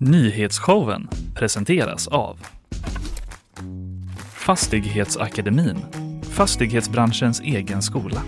Nyhetsshowen presenteras av Fastighetsakademin, fastighetsbranschens egen skola.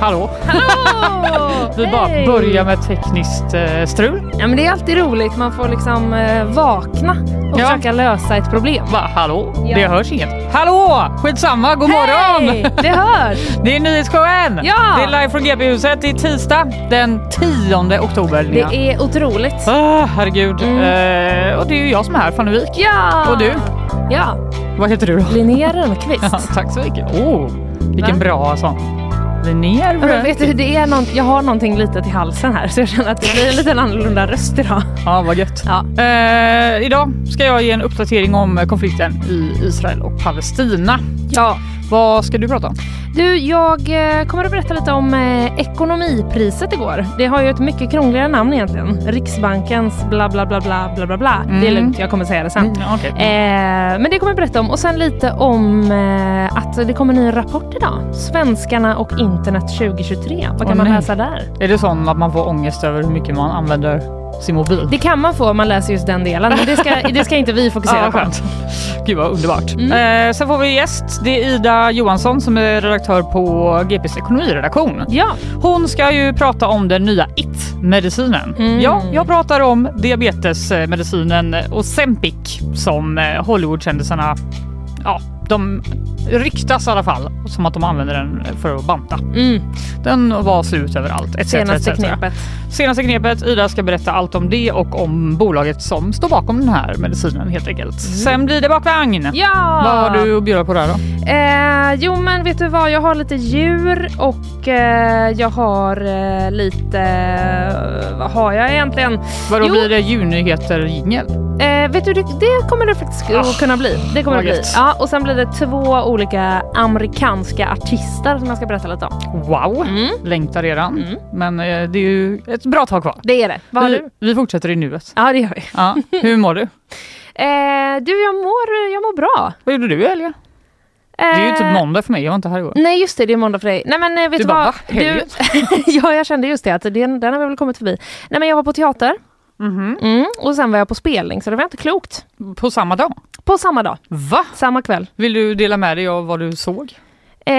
Hallå! Hallå! Vi bara Hej! börjar med tekniskt eh, strul. Ja, men det är alltid roligt. Man får liksom eh, vakna och Ja. försöka lösa ett problem. Va, hallå? Ja. Det hörs inget. Hallå! Skitsamma, god morgon! Hej! Det hörs! Det är nyhetsshowen! Ja! Det är live från GB-huset. Det är tisdag den 10 oktober. Det Lina. är otroligt. Ah, herregud. Mm. Eh, och det är ju jag som är här, Fanny Wijk. Ja! Och du? Ja, Vad heter du då? Linnea Rönnqvist. Ja, tack så mycket. Oh, vilken Va? bra sång. Linnér. Ja, men vet du, det är någon, jag har någonting litet i halsen här så jag känner att det blir en liten annorlunda röst idag. Ja, vad gött. Ja. Eh, idag ska jag ge en uppdatering om eh, konflikten i Israel och Palestina. ja. Vad ska du prata om? Du, jag eh, kommer att berätta lite om eh, ekonomipriset igår. Det har ju ett mycket krångligare namn egentligen. Riksbankens bla bla bla bla bla bla bla. Det är Mm. lugnt, jag kommer säga det sen. Ja, okej. Eh, men det kommer jag berätta om. Och sen lite om eh, att det kommer en ny rapport idag. Svenskarna och internet 2023. Vad kan Åh, man nej. läsa där? Är det sån att man får ångest över hur mycket man använder sin mobil? Det kan man få om man läser just den delen. Men det ska, det ska inte vi fokusera Ja, på. skönt. Gud vad underbart. Mm. Eh, sen får vi gäst. Det är Ida Johansson som är redaktör på GPs ekonomiredaktion. Ja, Hon ska ju prata om den nya IT-medicinen. Mm. Ja, jag pratar om diabetesmedicinen Ozempic som eh, Hollywoodkändisarna, ja, de ryktas i alla fall som att de använder den för att banta. mm. Den var slut överallt. etc, senaste etc. knepet. Senaste knepet. Ida ska berätta allt om det och om bolaget som står bakom den här medicinen helt enkelt. Sen blir det bakvagn. Mm. Ja! Vad har du att bjuda på där då? Eh, jo men vet du vad, jag har lite djur och eh, jag har eh, lite... eh, Vad har jag egentligen? Vadå Jo. blir det djurnyheter jingel? Eh, vet du, det, det kommer det faktiskt Ah, att kunna bli. Det kommer det vad bli. gött. Ja, och sen blir det två olika amerikanska artister som jag ska berätta lite om. Wow, Mm. längtar redan. Mm. Men eh, det är ju ett bra tag kvar. Det är det. Vad har vi, du? vi fortsätter i nuet. Ja, det gör vi. Ja. Hur mår du? Eh, du, jag mår, jag mår bra. Vad gjorde du i helgen? Det är ju typ Eh, måndag för mig, jag var inte här igår. Nej just det, det är måndag för dig. Nej men eh, vet Du du, bara, vad? va? Helgen? ja jag kände just det, att den, den har vi väl kommit förbi. Nej men jag var på teater Mhm. mm, och sen var jag på spelning så det var inte klokt. På samma dag? På samma dag, Va? samma kväll. Vill du dela med dig av vad du såg? Eh,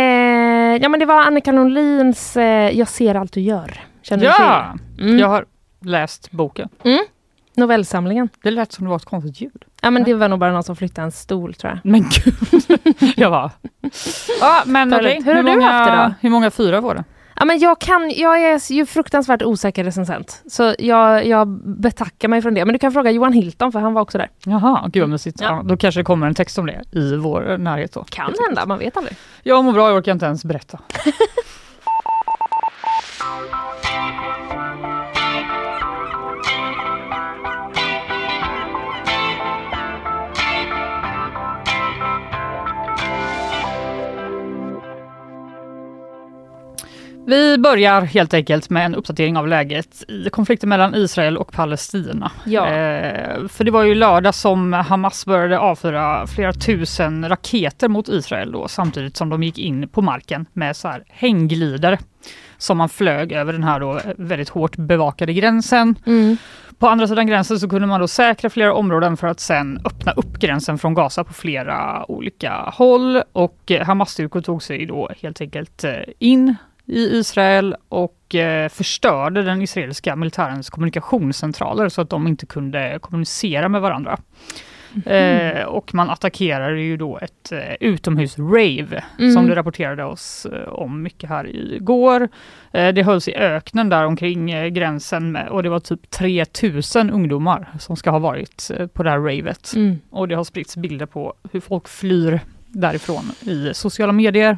ja men det var Annika Norlins eh, Jag ser allt du gör. Känner Ja! du till? Mm. Jag har läst boken. Novellsamlingen. Det lät som det var ett konstigt ljud. Ja men det var nog bara någon som flyttade en stol tror jag. Men gud! jag bara... Ja, men Ta det okej. lugnt. Hur har du många, haft det då? Hur många fyra var det? Ja, men jag, kan, jag är ju fruktansvärt osäker recensent, så jag, jag betackar mig från det. Men du kan fråga Johan Hilton, för han var också där. Jaha, gud vad mysigt. Ja. Ja. då kanske det kommer en text om det i vår närhet då. Kan hända, man vet aldrig. Jag mår bra, jag orkar inte ens berätta. Vi börjar helt enkelt med en uppdatering av läget i konflikten mellan Israel och Palestina. Ja. Eh, för det var ju lördag som Hamas började avfyra flera tusen raketer mot Israel då, samtidigt som de gick in på marken med så här hängglidare som man flög över den här då väldigt hårt bevakade gränsen. På andra sidan gränsen så kunde man då säkra flera områden för att sen öppna upp gränsen från Gaza på flera olika håll och eh, Hamas-styrkor tog sig då helt enkelt eh, in i Israel och eh, förstörde den israeliska militärens kommunikationscentraler så att de inte kunde kommunicera med varandra. mm. Eh, och man attackerade ju då ett eh, utomhus-rave som Mm. det rapporterade oss eh, om mycket här igår. Eh, det hölls i öknen där omkring eh, gränsen med, och det var typ 3000 ungdomar som ska ha varit eh, på det här ravet. Mm. Och det har spritts bilder på hur folk flyr därifrån i sociala medier.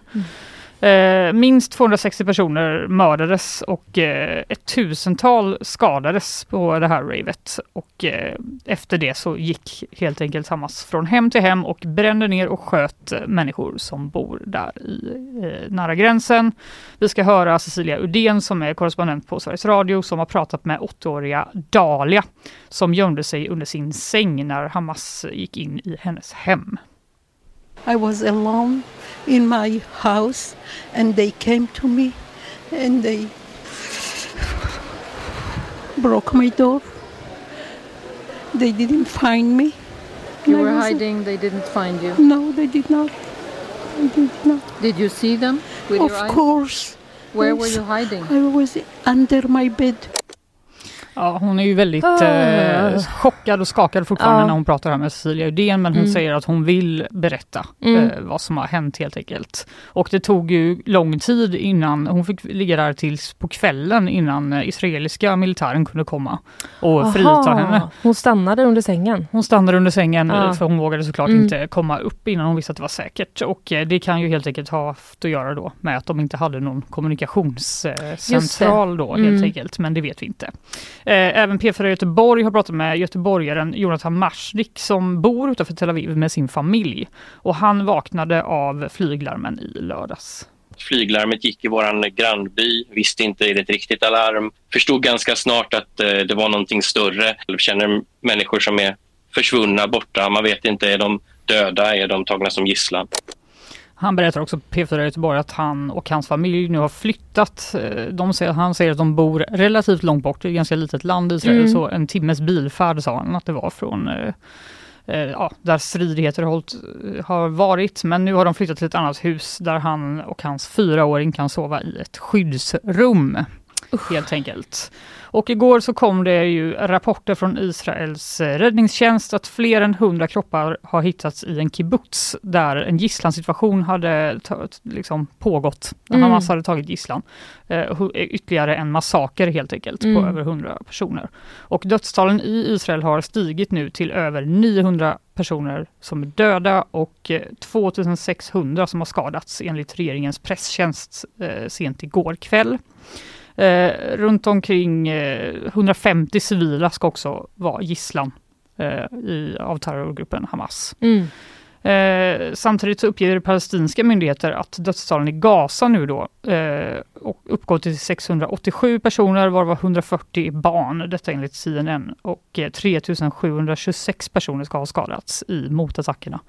Eh, minst 260 personer mördades och eh, ett tusental skadades på det här ravet. Och eh, efter det så gick helt enkelt Hamas från hem till hem och brände ner och sköt eh, människor som bor där i, eh, nära gränsen. Vi ska höra Cecilia Uddén som är korrespondent på Sveriges Radio som har pratat med åttaåriga Dahlia som gömde sig under sin säng när Hamas gick in i hennes hem. I was alone in my house and they came to me and they broke my door. They didn't find me. You I were wasn't- hiding, they didn't find you. No, they did not. They did not. Did you see them with of your eyes? course, Where were yes. you hiding? I was under my bed. Ja, hon är ju väldigt Ah. eh, chockad och skakad fortfarande Ja. när hon pratar här med Cecilia Uddén, men hon Mm. säger att hon vill berätta Mm. eh, vad som har hänt helt enkelt. Och det tog ju lång tid innan, hon fick ligga där tills på kvällen innan eh, israeliska militären kunde komma och frita Aha, henne. Hon stannade under sängen. Hon stannade under sängen Ja. eh, för hon vågade såklart Mm. inte komma upp innan hon visste att det var säkert. Och eh, det kan ju helt enkelt ha haft att göra då med att de inte hade någon kommunikationscentral då helt Mm. enkelt, men det vet vi inte. Eh, Även P4 Göteborg har pratat med göteborgaren Jonathan Marsnick som bor utanför Tel Aviv med sin familj. Och han vaknade av flyglarmen i lördags. Flyglarmet gick i vår grannby, visste inte är det ett riktigt alarm. Förstod ganska snart att eh, det var någonting större. Jag känner människor som är försvunna, borta. Man vet inte, är de döda? Är de tagna som gisslan? Han berättar också på P4 Göteborg att han och hans familj nu har flyttat. Eh, De säger, han säger att de bor relativt långt bort, det är ett ganska litet land i Israel, Mm. så en timmes bilfärd sa han att det var från eh, eh, ja, där stridigheter har hållit, eh, har varit. Men nu har de flyttat till ett annat hus där han och hans fyraåring kan sova i ett skyddsrum. Helt enkelt. Och igår så kom det ju rapporter från Israels eh, räddningstjänst att fler än 100 kroppar har hittats i en kibbutz där en gisslansituation hade ta- liksom pågått. När Mm. Hamas hade tagit gisslan. Eh, hu- ytterligare en massaker helt enkelt på Mm. över 100 personer. Och dödstalen i Israel har stigit nu till över 900 personer som är döda och eh, 2600 som har skadats enligt regeringens presstjänst eh, sent igår kväll. Eh, runt omkring eh, 150 civila ska också vara gisslan eh, i, av terrorgruppen Hamas. Mm. Eh, samtidigt så uppger palestinska myndigheter att dödstalen i Gaza nu då eh, och uppgår till 687 personer varav 140 är barn, detta enligt CNN. Och eh, 3726 personer ska ha skadats i motattackerna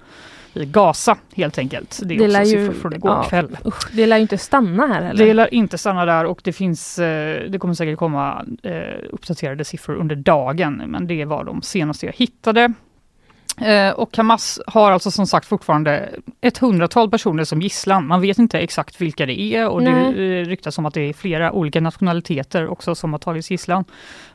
i Gaza helt enkelt. Det är Det också lär ju- siffror från igår ja. kväll. Usch, det lär ju inte stanna här Det heller. lär inte stanna där och det finns, eh, det kommer säkert komma eh, uppdaterade siffror under dagen, men det var de senaste jag hittade. Eh, Och Hamas har alltså som sagt fortfarande ett hundratal personer som gisslan. Man vet inte exakt vilka det är och det Nej. eh, ryktas om att det är flera olika nationaliteter också som har tagits gisslan.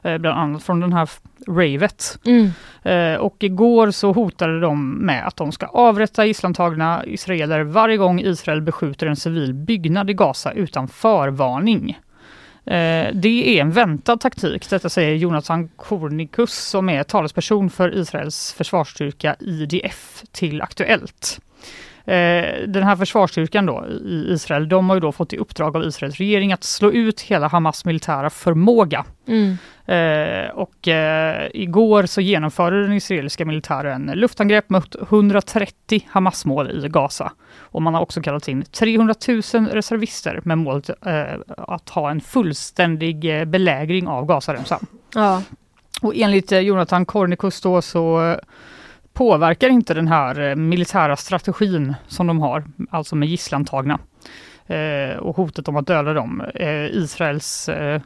Eh, Bland annat från den här ravet. Mm. Eh, Och igår så hotade de med att de ska avrätta gisslantagna israeler varje gång Israel beskjuter en civil byggnad i Gaza utan förvarning. Eh, Det är en väntad taktik, detta säger Jonathan Kornikus som är talesperson för Israels försvarsstyrka IDF till Aktuellt. Eh, Den här försvarsstyrkan då i Israel, de har ju då fått i uppdrag av Israels regering att slå ut hela Hamas militära förmåga. Mm. Eh, och eh, igår så genomförde den israeliska militären luftangrepp mot 130 Hamas-mål i Gaza. Och man har också kallat in 300 000 reservister med målet eh, att ha en fullständig eh, belägring av Gazaremsan. Ja. Och enligt eh, Jonathan Kornikus då så eh, påverkar inte den här eh, militära strategin som de har, alltså med gisslantagna eh, och hotet om att döda dem, eh, Israels eh,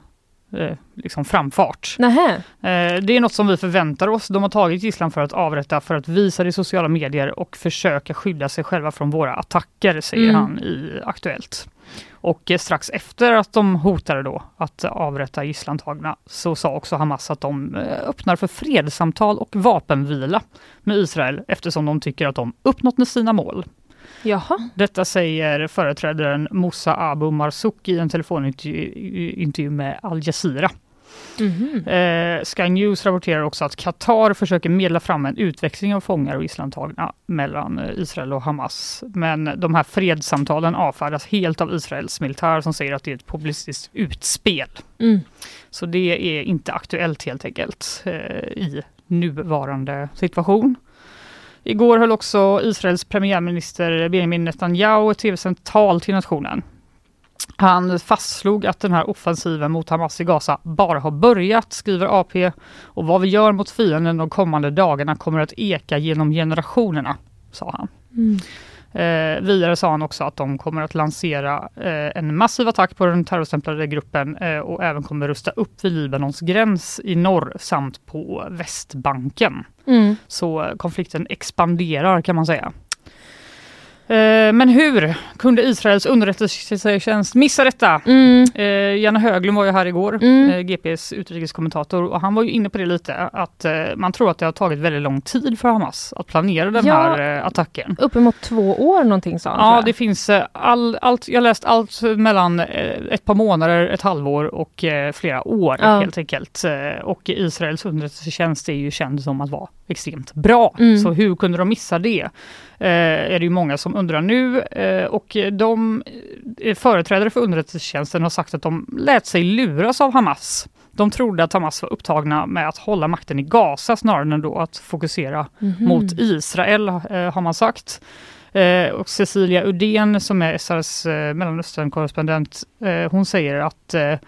eh, liksom framfart. Nähä. Eh, Det är något som vi förväntar oss. De har tagit gisslan för att avrätta, för att visa det i sociala medier och försöka skydda sig själva från våra attacker, säger Mm. han i Aktuellt. Och eh, strax efter att de hotade då att avrätta gisslantagna så sa också Hamas att de eh, öppnar för fredssamtal och vapenvila med Israel eftersom de tycker att de uppnått med sina mål. Jaha. Detta säger företrädaren Moussa Abu Marzouk i en telefonintervju intervju med Al Jazeera. Mhm. Eh, Sky News rapporterar också att Qatar försöker medla fram en utväxling av fångar och gisslantagna mellan eh, Israel och Hamas. Men de här fredssamtalen avfärdas helt av Israels militär som säger att det är ett publicistiskt utspel. Mm. Så det är inte aktuellt helt enkelt eh, i nuvarande situation. Igår höll också Israels premiärminister Benjamin Netanyahu ett tv-sänt tal till nationen. Han fastslog att den här offensiven mot Hamas i Gaza bara har börjat, skriver AP. Och vad vi gör mot fienden de kommande dagarna kommer att eka genom generationerna, sa han. Mm. Eh, vidare sa han också att de kommer att lansera eh, en massiv attack på den terrorstämplade gruppen eh, och även kommer rusta upp vid Libanons gräns i norr samt på Västbanken. Mm. Så eh, konflikten expanderar kan man säga. Eh, Men hur kunde Israels underrättelsetjänst missa detta? Mm. Eh, Janne Höglund var ju här igår, Mm. eh, GPs utrikeskommentator, och han var ju inne på det lite, att eh, man tror att det har tagit väldigt lång tid för Hamas att planera den Ja. här eh, attacken. Uppemot två år någonting sa han. tror Ja, jag. det finns eh, all, allt, jag har läst allt mellan eh, ett par månader, ett halvår och eh, flera år Ja. helt enkelt. Eh, Och Israels underrättelsetjänst är ju känd som att vara extremt bra. Mm. Så hur kunde de missa det? Eh, Är det ju många som undrar nu Eh, och de eh, företrädare för underrättelsetjänsten har sagt att de lät sig luras av Hamas. De trodde att Hamas var upptagna med att hålla makten i Gaza snarare än då att fokusera mot Israel eh, har man sagt. Eh, och Cecilia Uddén som är SRs eh, Mellanösternkorrespondent, eh, hon säger att eh,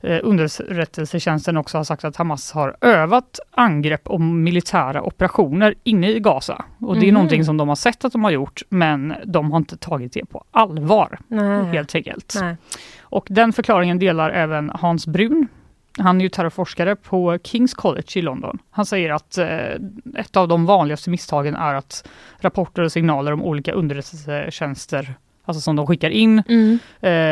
eh, underrättelsetjänsten också har sagt att Hamas har övat angrepp och militära operationer inne i Gaza. Och det är Mhm. någonting som de har sett att de har gjort, men de har inte tagit det på allvar. Nej. Helt enkelt. Nej. Och den förklaringen delar även Hans Brun. Han är ju terrorforskare på Kings College i London. Han säger att eh, ett av de vanligaste misstagen är att rapporter och signaler om olika underrättelsetjänster, alltså som de skickar in, Mm.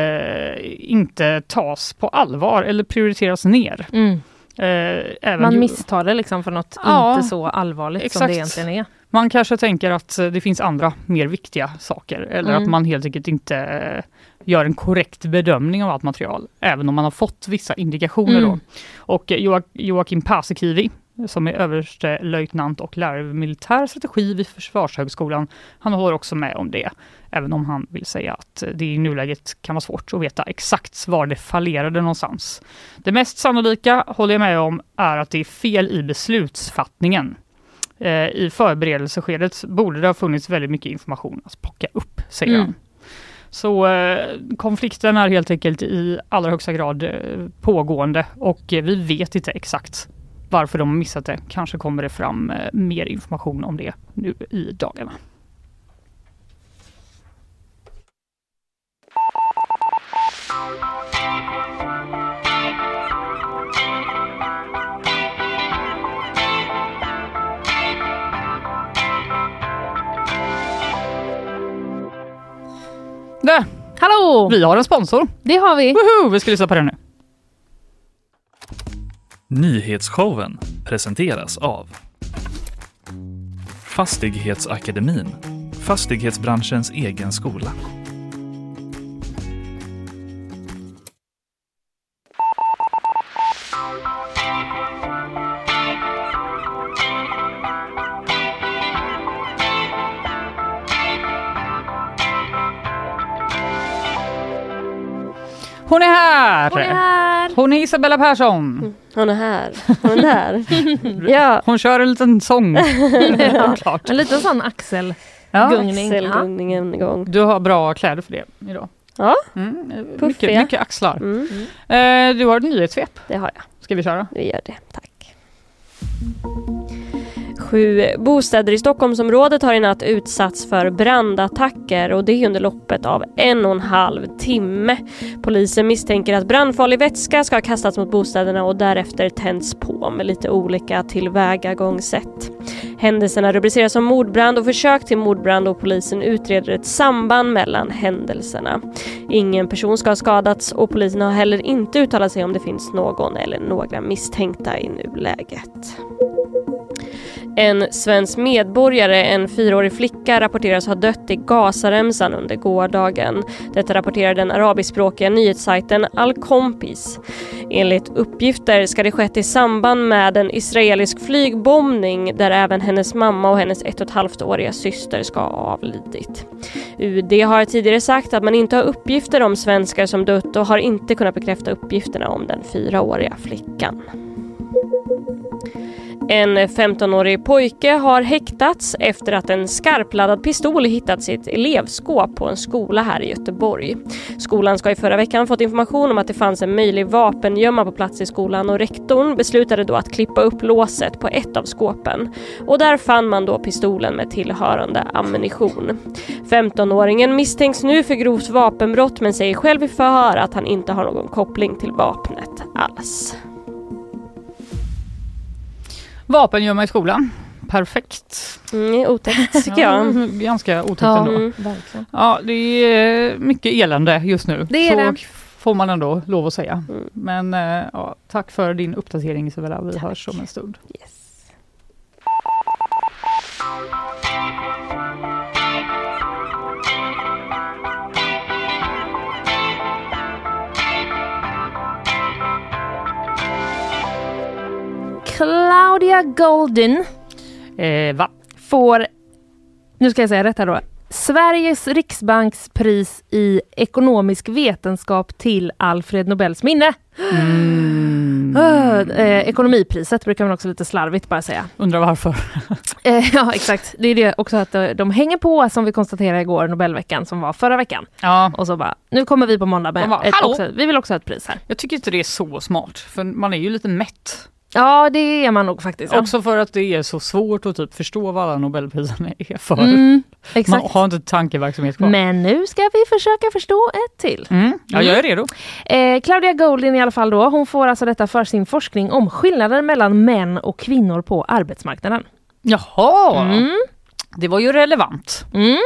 eh, inte tas på allvar eller prioriteras ner. Mm. Eh, även Man ju- misstar det liksom för något Ja, inte så allvarligt som exakt. det egentligen är. Man kanske tänker att eh, det finns andra mer viktiga saker eller Mm. att man helt enkelt inte eh, gör en korrekt bedömning av allt material, även om man har fått vissa indikationer. Mm. Då. Och eh, Joak- Joakim Paasikivi, som är överstelöjtnant och lärare vid militär strategi vid Försvarshögskolan, han håller också med om det. Även om han vill säga att eh, det i nuläget kan vara svårt att veta exakt var det fallerade någonstans. Det mest sannolika, håller jag med om, är att det är fel i beslutsfattningen. Eh, I förberedelseskedet borde det ha funnits väldigt mycket information att plocka upp, säger Mm. han. Så eh, konflikten är helt enkelt i allra högsta grad eh, pågående och eh, vi vet inte exakt varför de har missat det. Kanske kommer det fram eh, mer information om det nu i dagarna. Där! Hallå! Vi har en sponsor! Det har vi. Woho! Vi ska lyssna på den nu. Nyhetsshowen presenteras av Fastighetsakademin, fastighetsbranschens egen skola. Hon är här! Hon är här! Hon är Isabella Persson. Hon är här. Hon är där. ja. Hon kör en liten sång. Ja. Klart. En liten sån axel. Ja. Gung. Gungning, Axelgungningen igång. Du har bra kläder för det idag. Ja. Mm, eh, mycket, Puffiga. mycket axlar. Mm, Eh, du har ett nyhetssvep. det har jag. Ska vi köra? Vi gör det. Tack. Sju bostäder i Stockholmsområdet har i natt utsatts för brandattacker och det under loppet av en och en halv timme. Polisen misstänker att brandfarlig vätska ska ha kastats mot bostäderna och därefter tänts på med lite olika tillvägagångssätt. Händelserna rubriceras som mordbrand och försök till mordbrand och polisen utreder ett samband mellan händelserna. Ingen person ska ha skadats och polisen har heller inte uttalat sig om det finns någon eller några misstänkta i nuläget. En svensk medborgare, en fyraårig flicka, rapporteras ha dött i Gazaremsan under gårdagen. Detta rapporterar den arabiskspråkiga nyhetssajten Al-Kompis. Enligt uppgifter ska det skett i samband med en israelisk flygbombning där även hennes mamma och hennes ett och ett halvt åriga syster ska ha avlidit. UD har tidigare sagt att man inte har uppgifter om svenskar som dött och har inte kunnat bekräfta uppgifterna om den fyraåriga flickan. En 15-årig pojke har häktats efter att en skarpladdad pistol hittats i ett elevskåp på en skola här i Göteborg. Skolan ska i förra veckan fått information om att det fanns en möjlig vapengömma på plats i skolan och rektorn beslutade då att klippa upp låset på ett av skåpen. Och där fann man då pistolen med tillhörande ammunition. 15-åringen misstänks nu för grovt vapenbrott men säger själv i förhör att han inte har någon koppling till vapnet alls. Vapengömma i skolan. Perfekt. Mm, otäckt tycker jag. Ja, ganska otäckt Ja. ändå. Mm. Verkligen. Ja, det är eh, mycket elände just nu. Det är så det. får man ändå lov att säga. Mm. Men eh, ja, tack för din uppdatering Isabella. Vi hörs om en stund. Claudia Golden Eh, va? får, nu ska jag säga rätt här då, Sveriges riksbanks pris i ekonomisk vetenskap till Alfred Nobels minne. Öh, eh, ekonomipriset brukar man också lite slarvigt bara säga. Undrar varför. Eh, ja, exakt. Det är det också att eh, de hänger på som vi konstaterade igår, Nobelveckan som var förra veckan. Ja, Och så bara, nu kommer vi på måndag med De bara, ett, "Hallå!" också, vi vill också ha ett pris här. jag tycker inte det är så smart. För man är ju lite mätt. Ja, det är man nog faktiskt. ja. Också för att det är så svårt att typ förstå vad alla Nobelpriserna är för. man Mm, exakt. har inte tankeverksamhet kvar. Men nu ska vi försöka förstå ett till. Mm. Ja, jag är redo. Eh, Claudia Goldin i alla fall då, hon får alltså detta för sin forskning om skillnader mellan män och kvinnor på arbetsmarknaden. Jaha, Mm. det var ju relevant. Mm.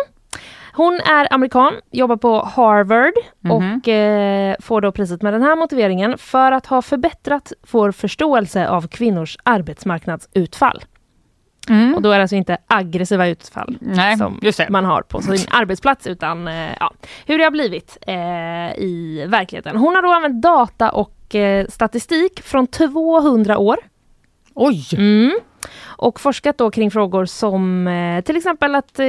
Hon är amerikan, jobbar på Harvard och eh, får då priset med den här motiveringen för att ha förbättrat vår förståelse av kvinnors arbetsmarknadsutfall. Och då är det alltså inte aggressiva utfall Nej, som just det. Mm. man har på sin arbetsplats utan eh, ja, hur det har blivit eh, i verkligheten. Hon har då använt data och eh, statistik från 200 år Oj! Mm. Och forskat då kring frågor som eh, till exempel att eh,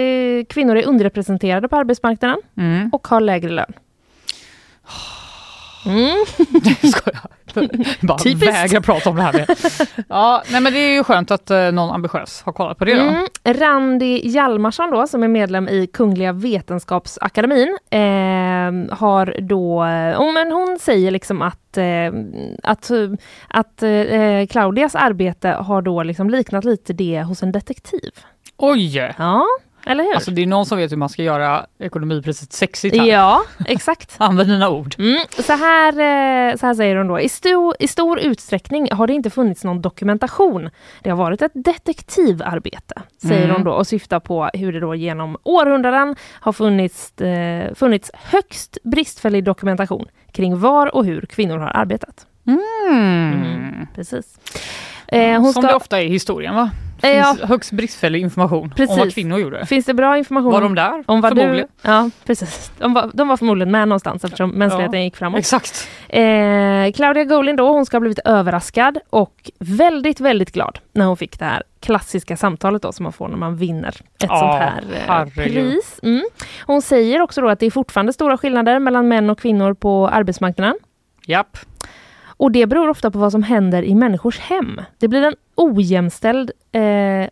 kvinnor är underrepresenterade på arbetsmarknaden Mm. och har lägre lön. Mm. Skojar. Bara Typiskt. vägrar prata om det här med. Ja, nej men det är ju skönt att eh, någon ambitiös har kollat på det då. Mm. Randi Hjalmarsson då, som är medlem i Kungliga Vetenskapsakademin, eh, har då, oh, men hon säger liksom att, eh, att, att eh, Claudias arbete har då liksom liknat lite det hos en detektiv. Oj! Ja, eller hur? Alltså det är någon som vet hur man ska göra ekonomipriset sexigt här. ja, exakt. Använd dina ord. Mm, så, här, eh, så här säger hon då. I stor, I stor utsträckning har det inte funnits någon dokumentation. Det har varit ett detektivarbete, säger Mm. hon då och syftar på hur det då genom århundraden har funnits, eh, funnits högst bristfällig dokumentation kring var och hur kvinnor har arbetat. Mm. Precis. Eh, hon Som ska, det ofta är i historien va? Eh, Finns ja, högst bristfällig information om vad Precis. kvinnor gjorde. finns det bra information? Var de där? om vad du, Förmodligen. ja, precis. De var, de var förmodligen med någonstans eftersom mänskligheten gick framåt. Exakt. Eh, Claudia Golin då, hon ska ha blivit överraskad och väldigt, väldigt glad när hon fick det här klassiska samtalet då som man får när man vinner ett Ja, sånt här eh, herregud. pris. Mm. Hon säger också då att det är fortfarande stora skillnader mellan män och kvinnor på arbetsmarknaden. Japp. Och det beror ofta på vad som händer i människors hem. Det blir en ojämställd, eh,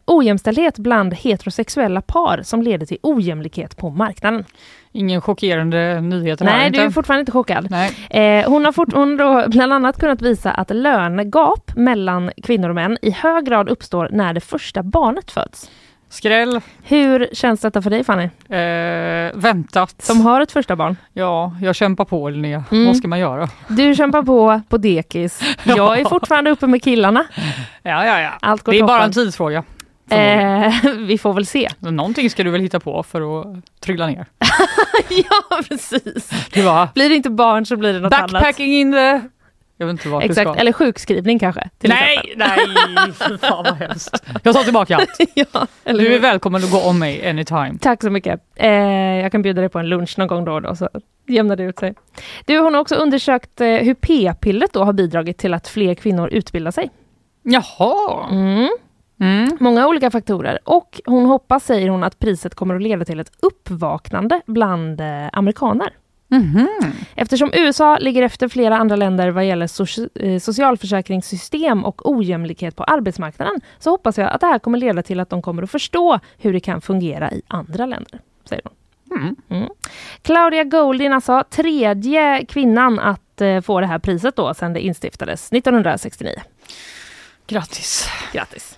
ojämställdhet bland heterosexuella par som leder till ojämlikhet på marknaden. Ingen chockerande nyhet här Nej, inte. du är fortfarande inte chockad. Nej. Eh, hon har fortfarande då bland annat kunnat visa att lönegap mellan kvinnor och män i hög grad uppstår när det första barnet föds. Skräll. Hur känns detta för dig Fanny, Eh, väntat. som har ett första barn? Ja, jag kämpar på Linnea. Mm. Vad ska man göra? Du kämpar på på dekis. Jag är fortfarande uppe med killarna. Ja, ja, ja. Allt går Det är bara en toppen. tidsfråga. Eh, vi får väl se. Men Någonting ska du väl hitta på för att trilla ner? ja, precis. Det var Blir det inte barn så blir det något annat. backpacking in the... Jag vet inte vart du Exakt, ska. eller sjukskrivning kanske. till nej, nej! Fy fan vad hemskt. Jag tar tillbaka allt. exempel. ja, eller Du är hur? välkommen att gå om mig anytime. Tack så mycket. Eh, jag kan bjuda dig på en lunch någon gång då och då så jämnar det ut sig. Du, hon har också undersökt eh, hur p-pillret då har bidragit till att fler kvinnor utbildar sig. Jaha! Mm. Mm. Många olika faktorer och hon hoppas, säger hon, att priset kommer att leda till ett uppvaknande bland eh, amerikaner. Mhm. Eftersom USA ligger efter flera andra länder vad gäller soci- eh, socialförsäkringssystem och ojämlikhet på arbetsmarknaden så hoppas jag att det här kommer leda till att de kommer att förstå hur det kan fungera i andra länder, säger hon. Mm. Claudia Goldin, alltså tredje kvinnan att eh, få det här priset då sedan det instiftades 1969. Grattis. Grattis!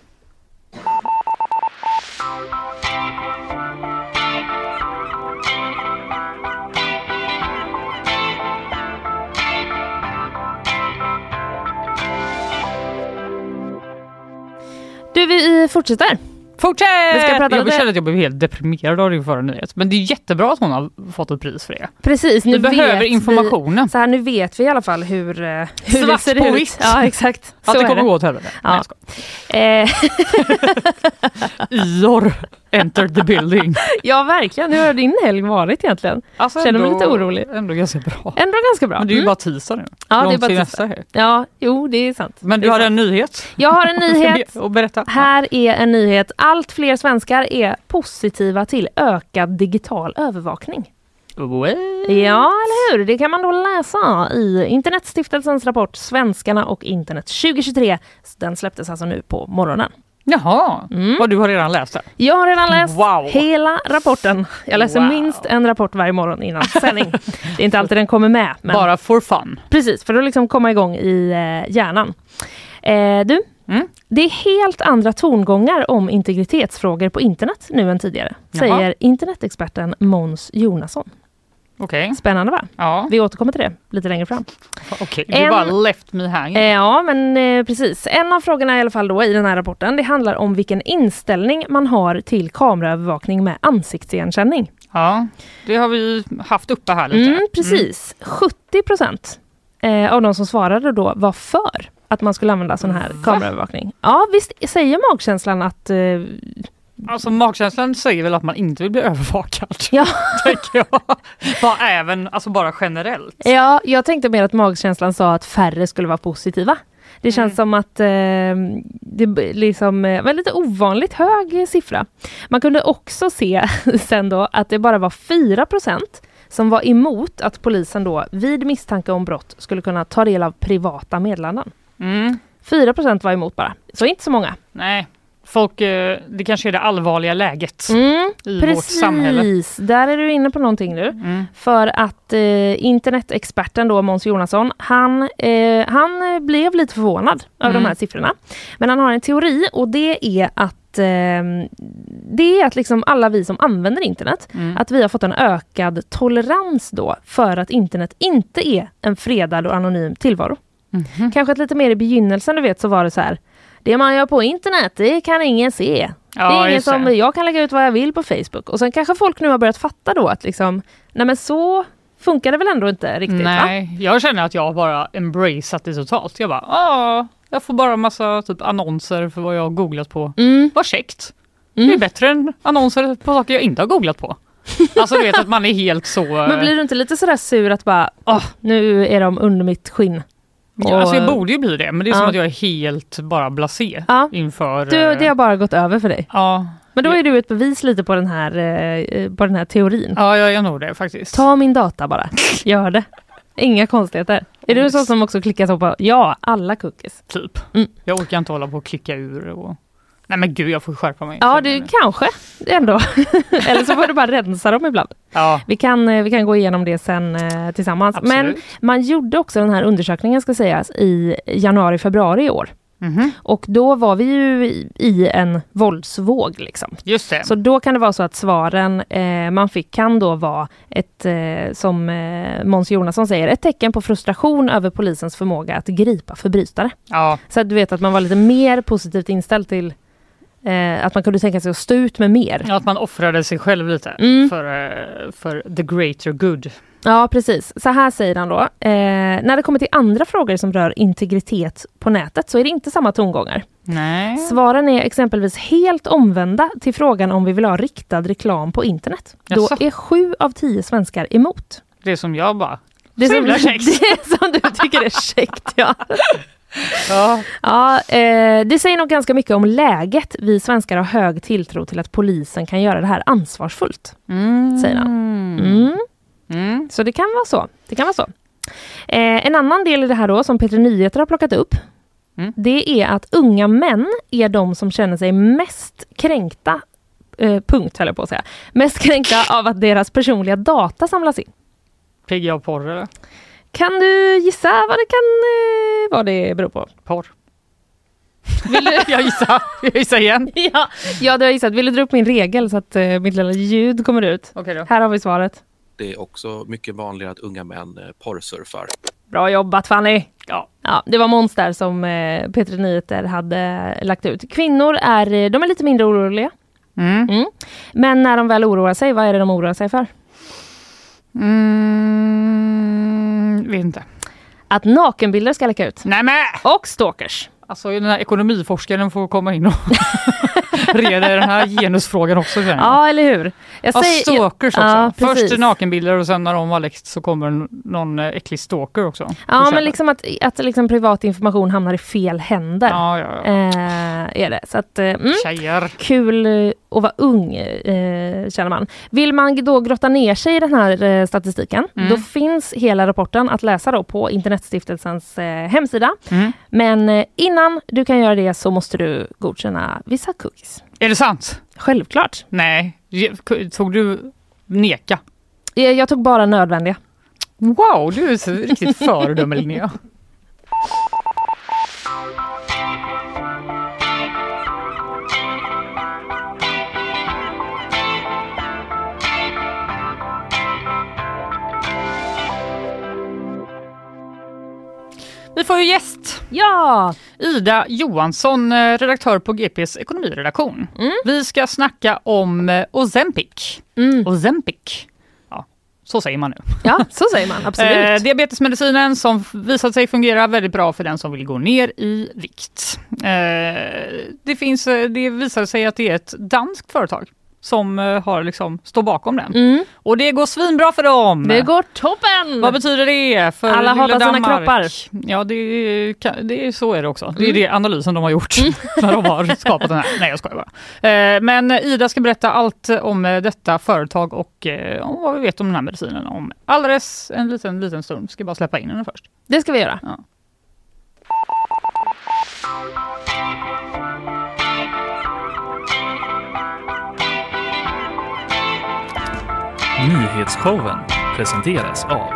Du, vi fortsätter. Fortsätt! Vi ska prata Eh, jag lite- känner att jag blev helt deprimerad av din förra nyhet. Men det är jättebra att hon har fått ett pris för det. Precis, Vi nu behöver vet informationen. Vi, så här, nu vet vi i alla fall hur, eh, hur Svart på vitt. Ja, exakt. att Så det är kommer det. gå åt helvete. Nej, Ja. jag skojar. Eh, Ior entered the building. ja, verkligen. Hur har din helg varit egentligen? Alltså Känner mig lite orolig. Ändå ganska bra. Ändå ganska bra. Men det är ju Mm. bara tisdag nu. Ja, det är Långt bara till tisdag. nästa helg. Ja, jo, det är sant. Men du Det är har sant. en nyhet? Jag har en nyhet. Och berätta. Här är en nyhet. Allt fler svenskar är positiva till ökad digital övervakning. Well. Ja, eller hur? Det kan man då läsa i Internetstiftelsens rapport Svenskarna och internet 2023. Den släpptes alltså nu på morgonen. Jaha, Mm. vad du har redan läst det. Jag har redan läst Wow. hela rapporten. Jag läser Wow. minst en rapport varje morgon innan sändning. Det är inte alltid den kommer med. Men Bara for fun. Precis, för att liksom komma igång i eh, hjärnan. Eh, du, Mm. det är helt andra tongångar om integritetsfrågor på internet nu än tidigare, Jaha. säger internetexperten Måns Jonasson. Okej. Spännande va? Ja, Vi återkommer till det lite längre fram. okej. Du En- bara left me hanging. Eh, ja, men eh, precis. En av frågorna i alla fall då i den här rapporten, det handlar om vilken inställning man har till kameraövervakning med ansiktsigenkänning. Ja, det har vi ju haft uppe här lite. Mm, precis. 70 procent eh, av de som svarade då var för att man skulle använda sån här kameraövervakning. Ja, visst säger magkänslan att... eh, Alltså magkänslan säger väl att man inte vill bli övervakad. ja, Tänker jag. Bara även, alltså bara generellt. ja, jag tänkte mer att magkänslan sa att färre skulle vara positiva. Det känns som att eh, det b- liksom, eh, var lite ovanligt hög eh, siffra. Man kunde också se sen då att det bara var 4 procent som var emot att polisen då vid misstanke om brott skulle kunna ta del av privata meddelanden. Mm. 4 var emot bara, så inte så många. Nej, folk, eh, det kanske är det allvarliga läget Mm, i vårt precis, samhälle. där är du inne på någonting nu. Mm. För att eh, internetexperten då, Måns Jonasson, han, eh, han eh, blev lite förvånad över Mm. de här siffrorna. Men han har en teori och det är att eh, det är att liksom alla vi som använder internet, Mm. att vi har fått en ökad tolerans då för att internet inte är en fredad och anonym tillvaro. Mhm. Kanske att lite mer i begynnelsen, du vet, så var det så här, det man gör på internet, det kan ingen se. Det är Ja, ingen just det. som, jag kan lägga ut vad jag vill på Facebook. Och sen kanske folk nu har börjat fatta då att liksom, nej men så funkar det väl ändå inte riktigt va? Nej, jag känner att jag har bara embraceat det totalt. Jag bara, ja, jag får bara massa typ annonser för vad jag har googlat på. Mm. Vad käckt! Det är Mm. bättre än annonser på saker jag inte har googlat på. Alltså du vet att man är helt så... Men blir du inte lite sådär sur att bara, åh, nu är de under mitt skinn. Ja, alltså jag borde ju bli det, men det är som Ja. att jag är helt bara blasé Ja. inför... Du, eh, det har bara gått över för dig. ja, Men då är du ett bevis lite på den här, eh, på den här teorin. ja, jag är nog det faktiskt. Ta min data bara, gör det. Inga konstigheter. Är du en sån som också klickar så på, ja, alla cookies? Typ. Mm. Jag orkar inte hålla på och klicka ur och... Nej men gud, jag får skärpa mig. Ja, känner du jag nu. kanske ändå. Eller så får du bara rensa dem ibland. Ja, Vi kan, eh, vi kan gå igenom det sen eh, tillsammans. absolut. Men man gjorde också den här undersökningen ska sägas i januari, februari i år. Mhm, Och då var vi ju i- i en våldsvåg. Liksom. Just det. Så då kan det vara så att svaren eh, man fick kan då vara, ett, eh, som eh, Måns Jonasson säger, ett tecken på frustration över polisens förmåga att gripa förbrytare. Ja, Så att du vet att man var lite mer positivt inställd till eh, att man kunde tänka sig att stå ut med mer. Ja, att man offrade sig själv lite Mm. för, eh, för the greater good. Ja, precis. Så här säger han då. Eh, när det kommer till andra frågor som rör integritet på nätet så är det inte samma tongångar. Nej. Svaren är exempelvis helt omvända till frågan om vi vill ha riktad reklam på internet. Jaså? Då är sju av tio svenskar emot. Det som jag bara... Det Så som, himla käckt. det som du tycker är käckt, ja. Ja, ja eh, det säger nog ganska mycket om läget. Vi svenskar har hög tilltro till att polisen kan göra det här ansvarsfullt, säger han. Mm. Mm. Så det kan vara så. Det kan vara så. Eh, en annan del i det här då, som Peter Nyheter har plockat upp, Mm. det är att unga män är de som känner sig mest kränkta, eh, punkt höll jag på att säga, mest kränkta av att deras personliga data samlas in. Pigg jag porr eller? Kan du gissa vad det kan eh, vad det beror på? Porr. jag gissar. Jag gissar igen. Ja, ja, du har gissat. Vill du dra upp min regel så att eh, mitt lilla ljud kommer ut? Okej då. Här har vi svaret. Det är också mycket vanligare att unga män eh, porrsurfar. Bra jobbat Fanny! Ja. Ja, det var Måns där som eh, P3 Nyheter hade lagt ut. Kvinnor är, eh, de är lite mindre oroliga. Mm. Men när de väl oroar sig, vad är det de oroar sig för? Mm. Vet inte. Att nakenbilder ska läcka ut. Nej men! Och stalkers. Alltså den här ekonomiforskaren får komma in och reda i den här genusfrågan också känner jag. Ja, eller hur? Jag Ja, säger- stalkers också. Ja, precis. Först nakenbilder och sen när de har läckt så kommer n- någon eh, äcklig stalker också. på Ja, köpet. men liksom att, att liksom privat information hamnar i fel händer. Ja, ja, ja. Eh, är det. Så att, eh, mm. Tjejer. Kul eh, att vara ung, eh, känner man. Vill man då grotta ner sig i den här eh, statistiken, då finns hela rapporten att läsa då på Internetstiftelsens eh, hemsida. Mm. Men eh, innan du kan göra det så måste du godkänna vissa cookies. Är det sant? Självklart. Nej. Ge- k- Tog du neka? Eh, Jag tog bara nödvändiga. Wow, du är så riktigt föredöme Linnea. Vi får ju gäst. Ja! Ida Johansson, eh, redaktör på GPs ekonomiredaktion. Vi ska snacka om eh, Ozempic. Mm. Ozempic. Ja, så säger man nu. Ja, så säger man. Absolut. Eh, diabetesmedicinen som f- visat sig fungera väldigt bra för den som vill gå ner i vikt. Eh, det, finns, eh, det visar sig att det är ett danskt företag som eh, har liksom, står bakom den. Mm. Och det går svinbra för dem! Det går toppen! Vad betyder det för Alla lilla hatar sina Danmark? kroppar. Ja, det, är- kan- det, är- så är det också. Det är det analysen de har gjort när de har skapat den här. Nej, jag skojar bara. Eh, Men Ida ska berätta allt om eh, detta företag och eh, om vad vi vet om den här medicinen om alldeles en liten, liten stund. Ska bara släppa in henne först. Det ska vi göra. Ja. Nyhetsshowen presenteras av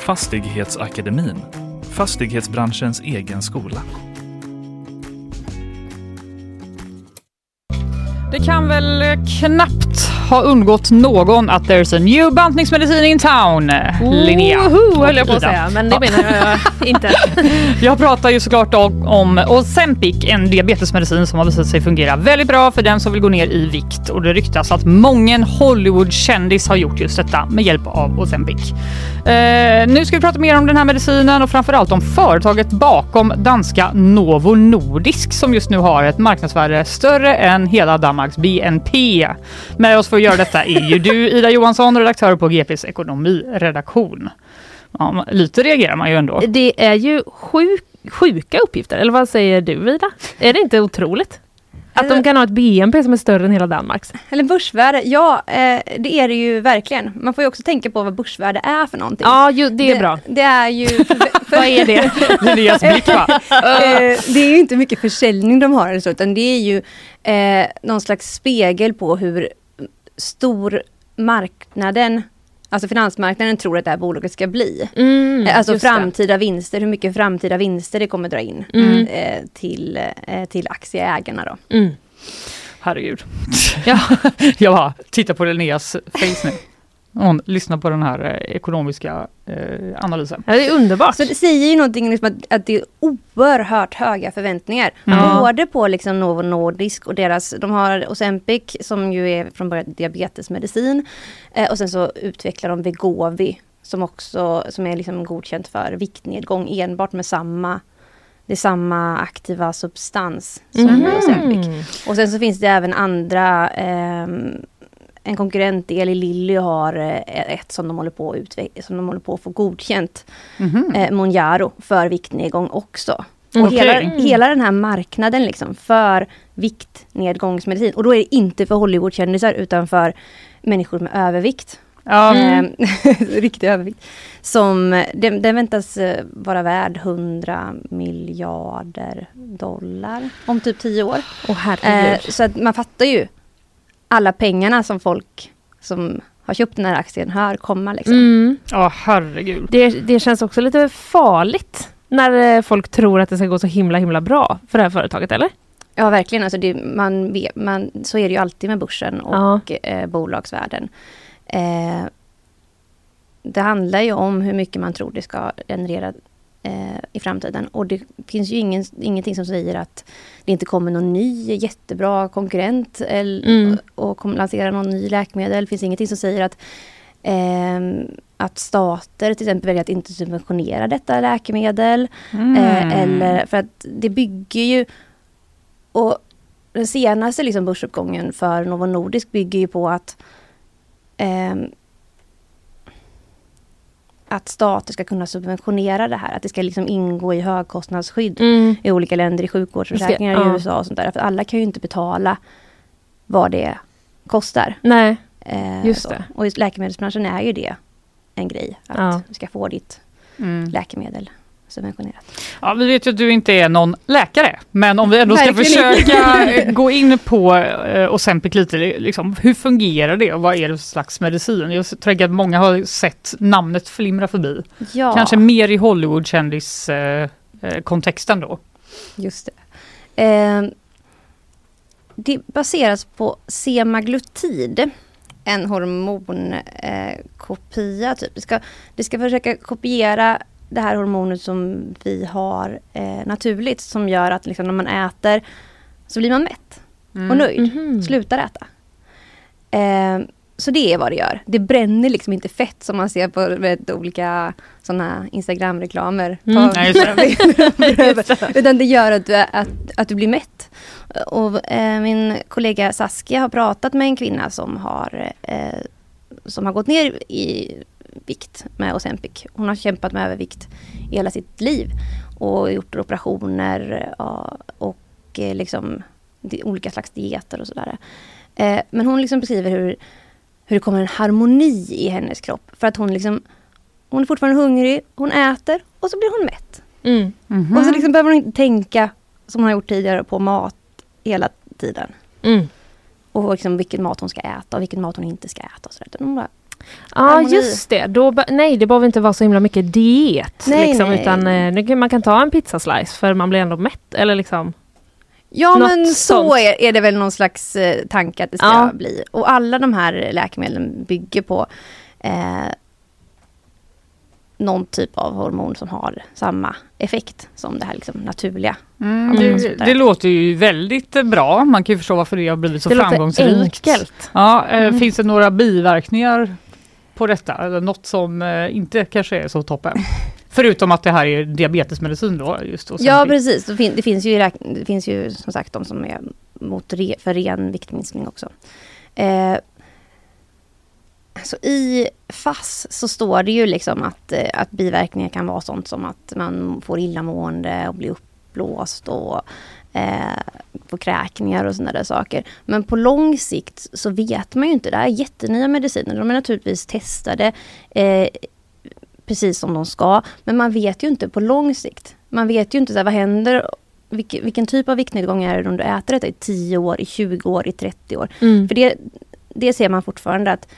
Fastighetsakademin, fastighetsbranschens egen skola. Det kan väl eh, knappt ha undgått någon att there's a new bantningsmedicin in town, eh, Linnea. Woho, höll jag Och på att Ida. säga, men det menar jag inte. Jag pratar ju såklart om, om Ozempic, en diabetesmedicin som har visat sig fungera väldigt bra för den som vill gå ner i vikt och det ryktas att många Hollywood-kändis har gjort just detta med hjälp av Ozempic. Eh, nu ska vi prata mer om den här medicinen och framförallt om företaget bakom danska Novo Nordisk som just nu har ett marknadsvärde större än hela Danmarks BNP. Med oss för att göra detta är ju du Ida Johansson, redaktör på GPs ekonomiredaktion. Ja, man- lite reagerar man ju ändå. Det är ju sjuk, sjuka uppgifter, eller vad säger du Ida? Är det inte otroligt? Att de kan ha ett BNP som är större än hela Danmarks. Eller börsvärde, ja eh, det är det ju verkligen. Man får ju också tänka på vad börsvärde är för någonting. Ja, ju, det är bra. Det är ju... För, för, Vad är det? Linneas blick va? eh, det är ju inte mycket försäljning de har eller så, utan det är ju eh, någon slags spegel på hur stor marknaden, alltså finansmarknaden tror att det här bolaget ska bli. Mm, Eh, alltså just det. framtida vinster, hur mycket framtida vinster det kommer dra in Mm. eh, till, eh, till aktieägarna då. Mm. Herregud. Ja. Jag bara tittar på Linneas face nu. Hon lyssnar på den här eh, ekonomiska eh, analysen. Ja, det är underbart. Så det säger ju någonting liksom att, att det är oerhört höga förväntningar. Ja. Både på liksom Novo Nordisk och deras, de har Ozempic som ju är från början diabetesmedicin. Eh, och sen så utvecklar de Vegovi som också som är liksom godkänt för viktnedgång enbart med samma det är samma aktiva substans som Mhm. Ozempic. Mm. Och sen så finns det även andra ehm, en konkurrentdel i Lilly har eh, ett som de håller på att, utve- som de håller på att få godkänt. Eh, Monjaro för viktnedgång också. Och Mhm. Okej. hela, hela den här marknaden liksom för viktnedgångsmedicin. Och då är det inte för Hollywoodkändisar utan för människor med övervikt. Ja. Mm. Riktig övervikt. Som, den, den väntas eh, vara värd 100 miljarder dollar om typ 10 år. Åh Eh, herregud. så att man fattar ju alla pengarna som folk som har köpt den här aktien hör komma. Liksom. Mm. Ja, herregud. Det, det känns också lite farligt när eh, folk tror att det ska gå så himla himla bra för det här företaget, eller? Ja, verkligen. Alltså det, man, vet- man, så är det ju alltid med börsen Ja. och eh, bolagsvärlden. Eh, det handlar ju om hur mycket man tror det ska generera eh, i framtiden. Och det finns ju ingen, ingenting som säger att det inte kommer någon ny jättebra konkurrent eller, Mm. och, och kommer lansera någon ny läkemedel. Det finns ingenting som säger att ehm, att stater till exempel väljer att inte subventionera detta läkemedel. Mm. Mm. Eh, eller för att det bygger ju... Och den senaste liksom börsuppgången för Novo Nordisk bygger ju på att ehm, att stater ska kunna subventionera det här. Att det ska liksom ingå i högkostnadsskydd i olika länder, i sjukvårdsförsäkringar Just det, i ja. USA och sånt där. För alla kan ju inte betala vad det kostar. Nej. Eh, Just så. det. Och just läkemedelsbranschen är ju det en grej. Att Ja. du ska få ditt Mm. läkemedel subventionerat. Ja, vi vet ju att du inte är någon läkare, men om vi ändå ska Verkligen inte. försöka eh, gå in på eh, Ozempic lite, liksom, hur fungerar det och vad är det för slags medicin? Jag tror att många har sett namnet flimra förbi, Ja, kanske mer i Hollywood-kändis-kontexten då. just det. Eh, det baseras på semaglutid. En hormonkopia. Eh, kopia, typ. det, ska, det ska försöka kopiera det här hormonet som vi har eh, naturligt. Som gör att liksom, när man äter så blir man mätt Mm. och nöjd. Mhm. slutar äta. Eh, så det är vad det gör. Det bränner liksom inte fett som man ser på vet, olika sådana Instagram-reklamer. Mm. Nej, just Utan det gör att du, är- att, att du blir mätt. Och, eh, min kollega Saskia har pratat med en kvinna som har, eh, som har gått ner i vikt med Ozempic. Hon har kämpat med övervikt i hela sitt liv och gjort operationer ja, och eh, liksom, di- olika slags dieter och sådär. Eh, Men hon liksom beskriver hur, hur det kommer en harmoni i hennes kropp. För att hon liksom hon är fortfarande hungrig, hon äter och så blir hon mätt. Mm. Och så liksom behöver hon inte tänka som hon har gjort tidigare på mat hela tiden. Mm. Och liksom vilken mat hon ska äta och vilken mat hon inte ska äta. Och så där. Utan hon bara, Ja, Harmoni. just det. Då, be- nej, det behöver inte vara så himla mycket diet. Nej, liksom, nej. Utan, eh, nu kan- man kan ta en pizzaslice för man blir ändå mätt. Eller liksom. Ja Något men sånt. så är, är det väl någon slags eh, tanke att det ska Ja. bli. Och alla de här läkemedlen bygger på eh, någon typ av hormon som har samma effekt som det här liksom naturliga. Mm, Ja, men det, sånt där. det låter ju väldigt eh, bra, man kan ju förstå varför det har blivit så det låter framgångsrikt. enkelt. Ja, eh, Mm. Finns det några biverkningar på detta? Eller något som eh, inte kanske är så toppen? Förutom att det här är diabetesmedicin då? Just Ozempic. Ja precis, det, fin- det, finns ju, i räk- det finns ju som sagt de som är mot re- för ren viktminskning också. Eh, så i FASS så står det ju liksom att, eh, att biverkningar kan vara sånt som att man får illamående och blir uppblåst och eh, får kräkningar och sådana där saker. Men på lång sikt så vet man ju inte. Det här är jättenya mediciner. De är naturligtvis testade eh, precis som de ska. Men man vet ju inte på lång sikt. Man vet ju inte så här, vad händer, vilken, vilken typ av viktnedgång är det om du äter detta i 10 år, i 20 år, i 30 år. Mm. För det, det ser man fortfarande att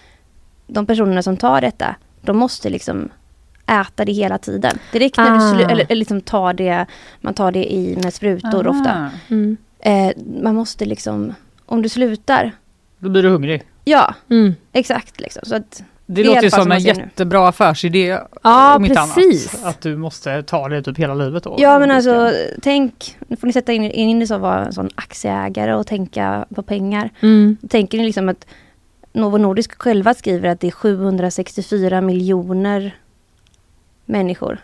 de personerna som tar detta, de måste liksom äta det hela tiden. Direkt när Ah. du slu- eller, eller liksom tar det, man tar det i med sprutor ofta. Ah. Aha. Mm. Eh, man måste liksom, om du slutar, Då blir du hungrig. ja Mm. exakt liksom. Så att, Det, Det är låter i ju alla fall som som en man ser nu. jättebra affärsidé Ja, om inte precis. annat. Att du måste ta det typ hela livet då. ja men alltså tänk, nu får ni sätta in, in er som var en sån aktieägare och tänka på pengar. Mm. Tänker ni liksom att Novo Nordisk själva skriver att det är 764 miljoner människor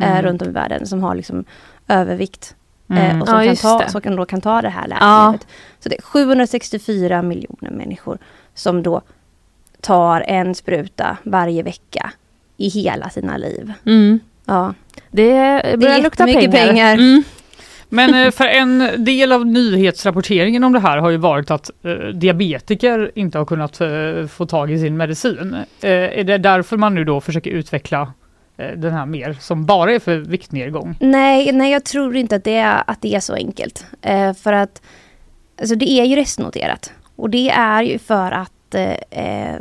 eh, Mm. runt om i världen som har liksom övervikt. Eh, Mm. och som, Ja, kan just ta, det. som kan då kan ta det här Ja. läkemedlet. Så det är 764 miljoner människor som då tar en spruta varje vecka i hela sina liv. Mm. Ja. Det börjar lukta pengar. jättemycket pengar. Mm. Men eh, för en del av nyhetsrapporteringen om det här har ju varit att eh, diabetiker inte har kunnat eh, få tag i sin medicin. Eh, är det därför man nu då försöker utveckla eh, den här mer som bara är för viktnedgång? Nej, nej jag tror inte att det är, att det är så enkelt. Eh, för att alltså det är ju restnoterat. Och det är ju för att eh, eh,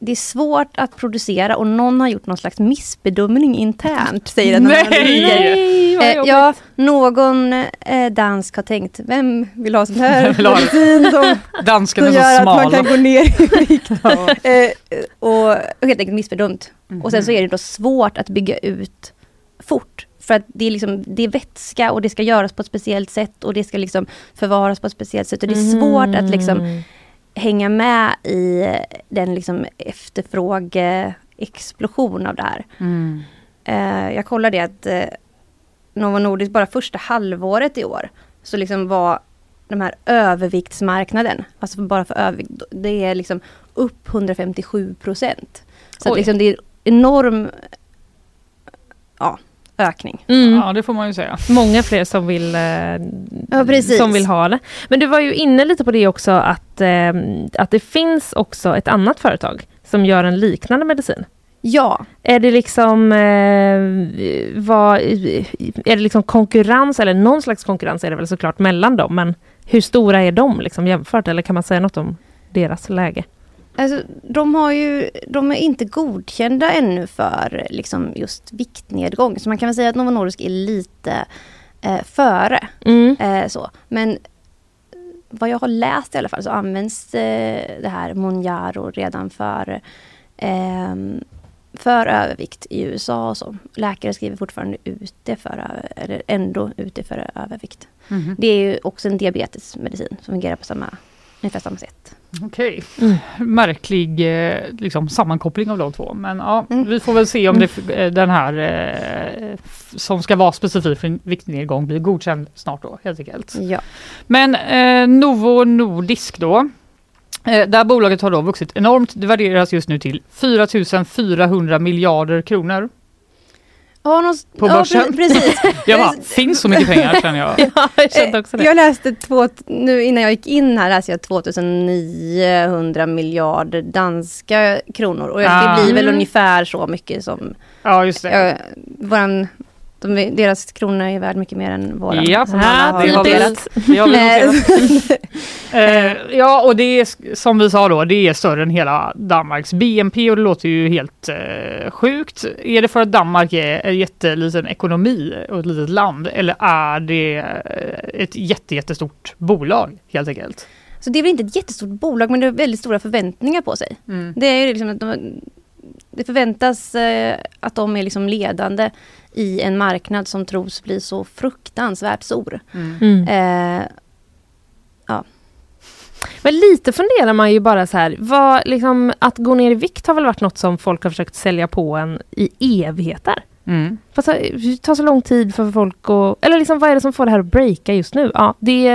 det är svårt att producera och någon har gjort någon slags missbedömning internt, säger den Nej! analytiker. Nej, Eh, ja, någon eh, dansk har tänkt, vem vill ha sån här Vem vill ha det? medicin som, Dansken som är gör så att man smal. kan gå ner i vikt? eh, och helt enkelt missbedömt. Och sen så är det då svårt att bygga ut fort. För att det är, liksom, det är vätska och det ska göras på ett speciellt sätt och det ska liksom förvaras på ett speciellt sätt. Och det är svårt att liksom hänga med i den liksom efterfrågeexplosion av det här. Mm. Eh, jag kollade att eh, Novo Nordisk bara första halvåret i år så liksom var de här överviktsmarknaden, alltså bara för övervikt, det är liksom upp 157 procent. Så att Oj. liksom det är enorm ja, ökning. Mm. Ja, det får man ju säga. Många fler som vill, eh, Ja, precis. som vill ha det. Men du var ju inne lite på det också att, eh, att det finns också ett annat företag som gör en liknande medicin. Ja, Är det liksom, eh, vad, är det liksom konkurrens, eller någon slags konkurrens är det väl såklart mellan dem, men hur stora är de liksom jämfört, eller kan man säga något om deras läge? Alltså, de, har ju, de är inte godkända ännu för liksom, just viktnedgång. Så man kan väl säga att Novo Nordisk är lite eh, före. Mm. Eh, så. Men eh, vad jag har läst i alla fall så används eh, det här Monjaro redan för, ehm, för övervikt i USA. Och så. Läkare skriver fortfarande ut det för, över- eller ändå ut det för övervikt. Mhm. Det är ju också en diabetesmedicin som fungerar på samma, ungefär samma sätt. Okej. Märklig eh, liksom, sammankoppling av de två. Men ja, Mm. vi får väl se om det, f- eh, den här eh, f- som ska vara specifik för viktnedgång blir godkänd snart då helt enkelt. Ja. Men eh, Novo Nordisk då. Eh, det här bolaget har då vuxit enormt. Det värderas just nu till 4 400 miljarder kronor. Ja, någon, På ja, börsen. pre- precis. Jag bara, finns så mycket pengar känner jag. Ja, jag kände Eh, också det. Jag läste två, nu innan jag gick in här läste jag 2900 miljarder danska kronor. Och Ah. det blir väl Mm. ungefär så mycket som Ja just det. eh, våran, de, deras kronor är värd mycket mer än våra. Ja, som alla har det har vi- delat. det har vi noterat. Eh, Eh, ja, och det är sk- som vi sa då, det är större än hela Danmarks BNP och det låter ju helt eh, sjukt. Är det för att Danmark är en jätteliten ekonomi och ett litet land eller är det eh, ett jätte, jättestort bolag helt enkelt? så det är väl inte ett jättestort bolag men det har väldigt stora förväntningar på sig. Mm. Det är ju liksom att de, det förväntas eh, att de är liksom ledande i en marknad som tros bli så fruktansvärt stor. Mm. Eh, Men lite funderar man ju bara så här, vad, liksom, att gå ner i vikt har väl varit något som folk har försökt sälja på en i evigheter? Fast eh, det tar så lång tid för folk att... Eller liksom, vad är det som får det här att breaka just nu? Ja, det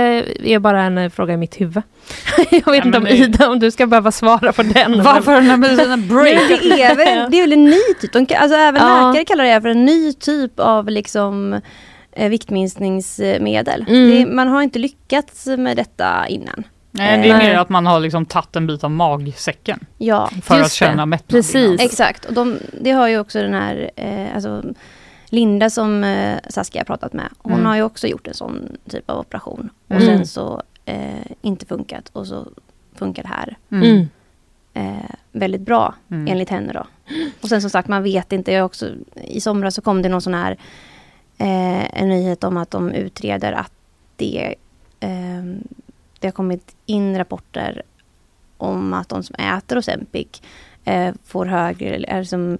är bara en eh, fråga i mitt huvud. Jag vet men inte om det- Ida, om du ska behöva svara på den. Varför har den här medicinen break? Nej, men det, är väl, det är väl en ny typ. De, ka- alltså, även Ja. läkare kallar det för en ny typ av liksom, eh, viktminskningsmedel. Mm. Det, man har inte lyckats med detta innan. Nej, det är Nej. mer att man har liksom tagit en bit av magsäcken Ja, för Just att känna det. mättnad. Precis. innan. exakt. Och de, det har ju också den här eh, alltså, Linda som eh, Saskia har pratat med. Hon Mm. har ju också gjort en sån typ av operation. Och Mm. sen så eh, inte funkat och så funkar det här. Mm. eh, väldigt bra Mm. enligt henne då. Och sen som sagt man vet inte, jag har också, i somras så kom det någon sån här eh, en nyhet om att de utreder att det, eh, det har kommit in rapporter om att de som äter Ozempic eh, får högre, eller är som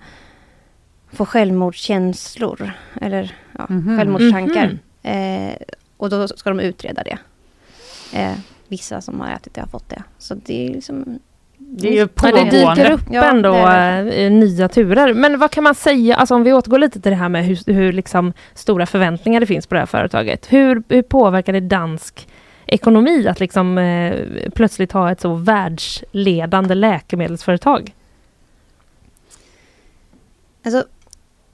får självmordskänslor eller ja, Mhm. självmordstankar. Eh, och då ska de utreda det. Eh, vissa som har ätit det har fått det. Så det är liksom Det är ju Ja, det dyker pågående. upp Ja, ändå det är eh, nya turer. Men vad kan man säga, alltså om vi återgår lite till det här med hur, hur liksom stora förväntningar det finns på det här företaget. Hur, hur påverkar det dansk ekonomi att liksom, eh, plötsligt ha ett så världsledande läkemedelsföretag? Alltså,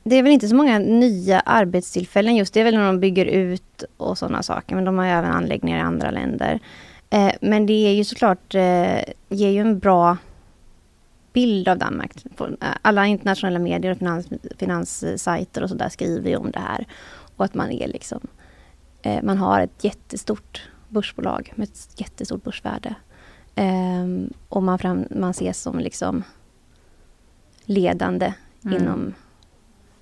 Det är väl inte så många nya arbetstillfällen just. Det är väl när de bygger ut och sådana saker. Men de har ju även anläggningar i andra länder. Eh, men det är ju såklart, eh, ger ju en bra bild av Danmark. På- Alla internationella medier och finans, finanssajter och sådär skriver ju om det här. Och att man är liksom, eh, man har ett jättestort börsbolag med ett jättestort börsvärde. Ehm, och man, fram, man ses som liksom ledande Mm. inom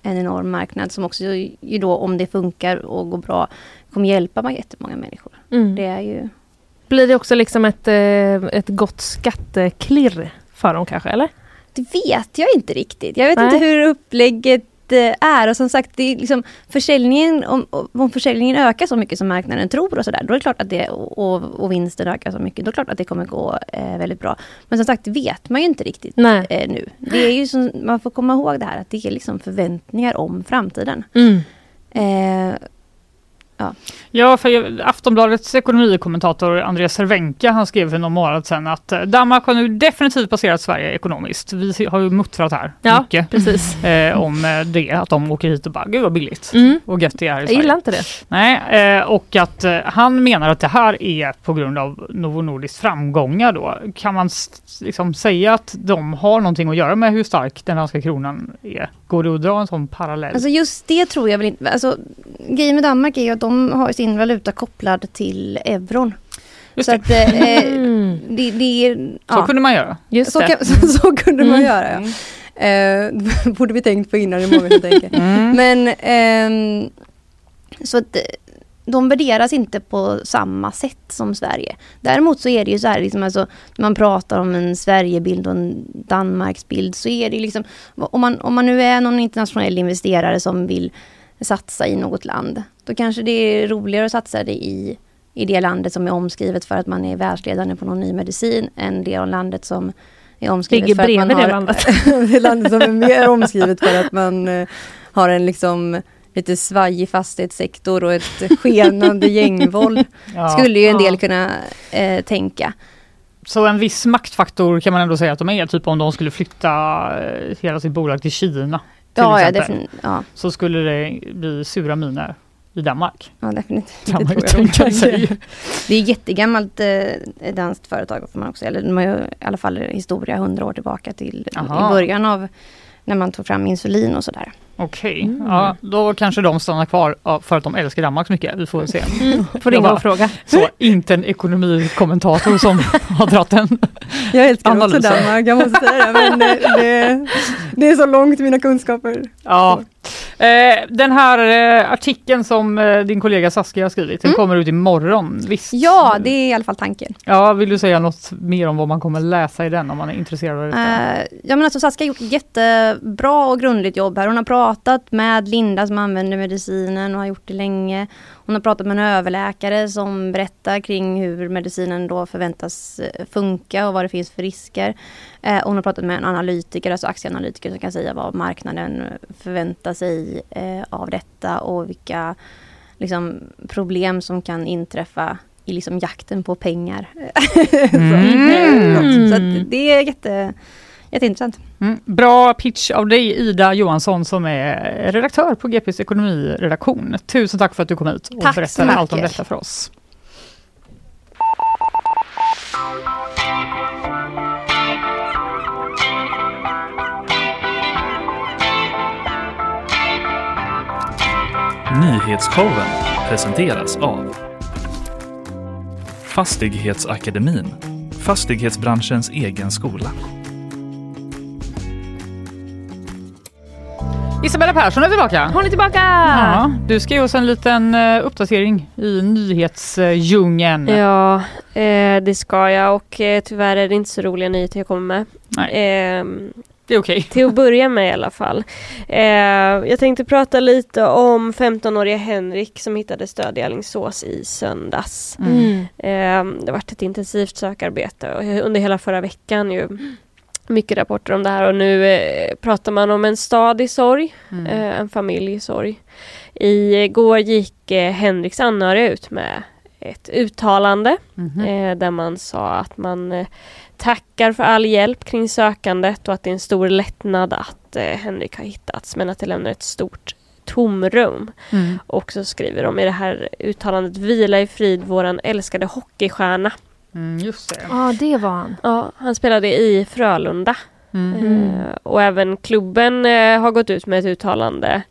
en enorm marknad som också ju ju då om det funkar och går bra kommer hjälpa bara jättemånga människor. Mm. Det är ju Blir det också liksom ett, eh, ett gott skatteklirr för dem kanske, eller? Det vet jag inte riktigt. Jag vet Nej. inte hur upplägget eh, är och som sagt, det är liksom försäljningen, om, om försäljningen ökar så mycket som marknaden tror och sådär, då är det klart att det, och, och vinsten ökar så mycket, då är det klart att det kommer gå eh, väldigt bra. Men som sagt, det vet man ju inte riktigt Nej. eh, nu. Det är ju som, man får komma ihåg det här att det är liksom förväntningar om framtiden. Mm. Eh, Ja, för jag- Aftonbladets ekonomikommentator Andreas Cervenka han skrev för någon månad sedan att eh, Danmark har nu definitivt passerat Sverige ekonomiskt. Vi har ju muttrat här Ja, mycket precis. eh, om eh, det, att de åker hit och bara gud vad billigt Mm. och gött det är i Jag Sverige. gillar inte det. Nej, eh, och att eh, han menar att det här är på grund av Novo Nordisks framgångar då. Kan man s- liksom säga att de har någonting att göra med hur stark den danska kronan är? Går det att dra en sån parallell? Alltså just det tror jag väl inte. Alltså, grejen med Danmark är ju att de har sin valuta kopplad till euron. Just det. så att eh, eh, Mm. det, det är... så kunde man göra. Just så, det. kan, så, så kunde man Mm. göra. Ja. Eh, borde vi tänkt på innan, det är många som tänker. Mm. Mm. Men ehm, så att eh, de värderas inte på samma sätt som Sverige. Däremot så är det ju så här, liksom, alltså, när man pratar om en Sverigebild och en Danmarksbild så är det liksom, om man, om man nu är någon internationell investerare som vill satsa i något land, då kanske det är roligare att satsa det i, i det landet som är omskrivet för att man är världsledande på någon ny medicin, än det landet som är omskrivet Ligger för att man bredvid har... det landet. det landet som är mer omskrivet för att man eh, har en liksom lite svajig fastighetssektor och ett skenande gängvåld. Ja. Skulle ju en del Ja. kunna eh, tänka. Så en viss maktfaktor kan man ändå säga att de är, typ om de skulle flytta eh, hela sitt bolag till Kina. Till Ja, ja, exempel, defin- ja, så skulle det bli sura miner i Danmark. ja, definitivt. Kan man ju Det tror jag tänka nog. sig. Det är ett jättegammalt eh, danskt företag, får man också, eller de har ju i alla fall historia hundra år tillbaka till Aha. i början av när man tog fram insulin och sådär. Okej, Mm. ja, då kanske de stannar kvar ja, för att de älskar Danmark så mycket. Vi får väl se. Mm. Får ringa bara- och fråga. Så inte en ekonomikommentator som har dratt den. Jag älskar också Analysen. Danmark, jag måste säga det, men eh, det, är så långt mina kunskaper. Ja. Eh, den här eh, artikeln som eh, din kollega Saskia har skrivit, den kommer ut imorgon, visst? Mm. Ja, det är i alla fall tanken. ja. Vill du säga något mer om vad man kommer läsa i den om man är intresserad av detta? Eh, ja men alltså Saskia har gjort ett jättebra och grundligt jobb här. Hon har pratat med Linda som använder medicinen och har gjort det länge. Hon har pratat med en överläkare som berättar kring hur medicinen då förväntas eh, funka och vad det finns för risker. Eh, och hon har pratat med en analytiker, alltså aktieanalytiker som kan säga vad marknaden förväntar sig eh, av detta och vilka liksom, problem som kan inträffa i liksom jakten på pengar. Så att det är jätte, jätteintressant. Mm. Bra pitch av dig Ida Johansson som är redaktör på GPs ekonomiredaktion. Tusen tack för att du kom hit och Tack så berättade mycket. allt om detta för oss. Nyhetsshowen presenteras av Fastighetsakademin, fastighetsbranschens egen skola. Isabella Persson är tillbaka. Hon är tillbaka! Ja, du ska ge oss en liten eh, uppdatering i nyhetsdjungeln. Ja, eh, det ska jag och eh, tyvärr är det inte så roliga nyheter jag kommer med. Nej. Ehm, Det är okej. till att börja med i alla fall. Eh, jag tänkte prata lite om 15-åriga Henrik som hittades död i Alingsås i söndags. Mm. Eh, det har varit ett intensivt sökarbete och he- under hela förra veckan ju mycket rapporter om det här och nu eh, pratar man om en stad i sorg, eh, en familj i sorg. Igår gick eh, Henriks anhöriga ut med ett uttalande Mhm. eh, där man sa att man eh, tackar för all hjälp kring sökandet och att det är en stor lättnad att eh, Henrik har hittats men att det lämnar ett stort tomrum. Mm. Och så skriver de i det här uttalandet Vila i frid våran älskade hockeystjärna. Mm, just det. Ja, det var han. Ja, han spelade i Frölunda. Mm. Eh, och även klubben eh, har gått ut med ett uttalande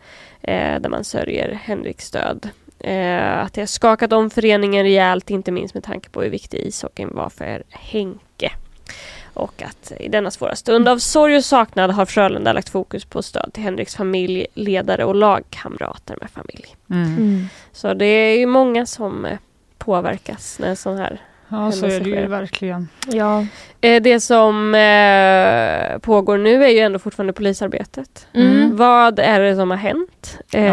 eh, där man sörjer Henriks död. Eh, att det har skakat om föreningen rejält, inte minst med tanke på hur viktig ishockeyn var för Henke. Och att i denna svåra stund av sorg och saknad har Frölunda lagt fokus på stöd till Henriks familj, ledare och lagkamrater med familj. Mm. Så det är ju många som eh, påverkas när en sån här Ja, så är det ju Händelser. verkligen. Ja. Eh, Det som eh, pågår nu är ju ändå fortfarande polisarbetet. Mm. Vad är det som har hänt? Eh,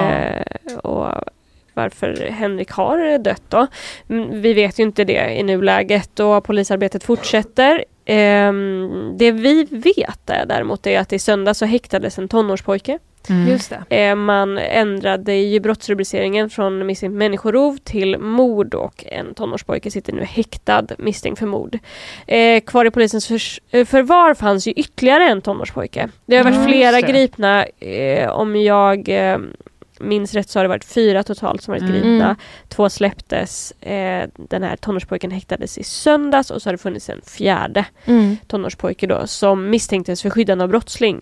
Ja. Och varför Henrik har dött då? Mm, Vi vet ju inte det i nuläget och polisarbetet fortsätter. Ehm, det vi vet är däremot är att i söndag så häktades en tonårspojke. Mm. Just det. Eh, man ändrade ju brottsrubriceringen från misstänkt människorov till mord och en tonårspojke sitter nu häktad misstänkt för mord. Eh, kvar i polisens förs- eh, förvar fanns ju ytterligare en tonårspojke. Det har varit Ja, just flera det. gripna, eh, om jag eh, minns rätt så har det varit fyra totalt som varit Mm. gripna. Två släpptes, eh, den här tonårspojken häktades i söndags och så har det funnits en fjärde Mm. tonårspojke då, som misstänktes för skyddande av brottsling.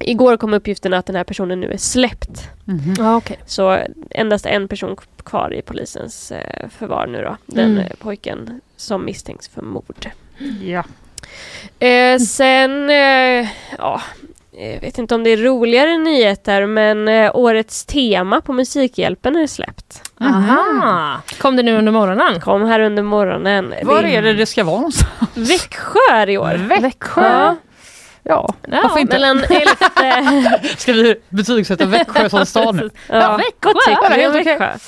Igår kom uppgiften att den här personen nu är släppt. Mhm. Ja, okej. Så endast en person kvar i polisens eh, förvar nu då. Den Mm. eh, pojken som misstänks för mord. Ja. Eh, sen, eh, ja, jag vet inte om det är roligare nyheter men eh, årets tema på Musikhjälpen är släppt. Aha! Mm. Kom det nu under morgonen? Kom här under morgonen. Var Det är det det ska vara någonstans? Växjö är i år. Växjö. Ja, ja. Ja, inte? mellan 11 Ska vi betygsätta Växjö som stad nu? Ja, Växjö! vad tycker du om Helt okej. Växjö?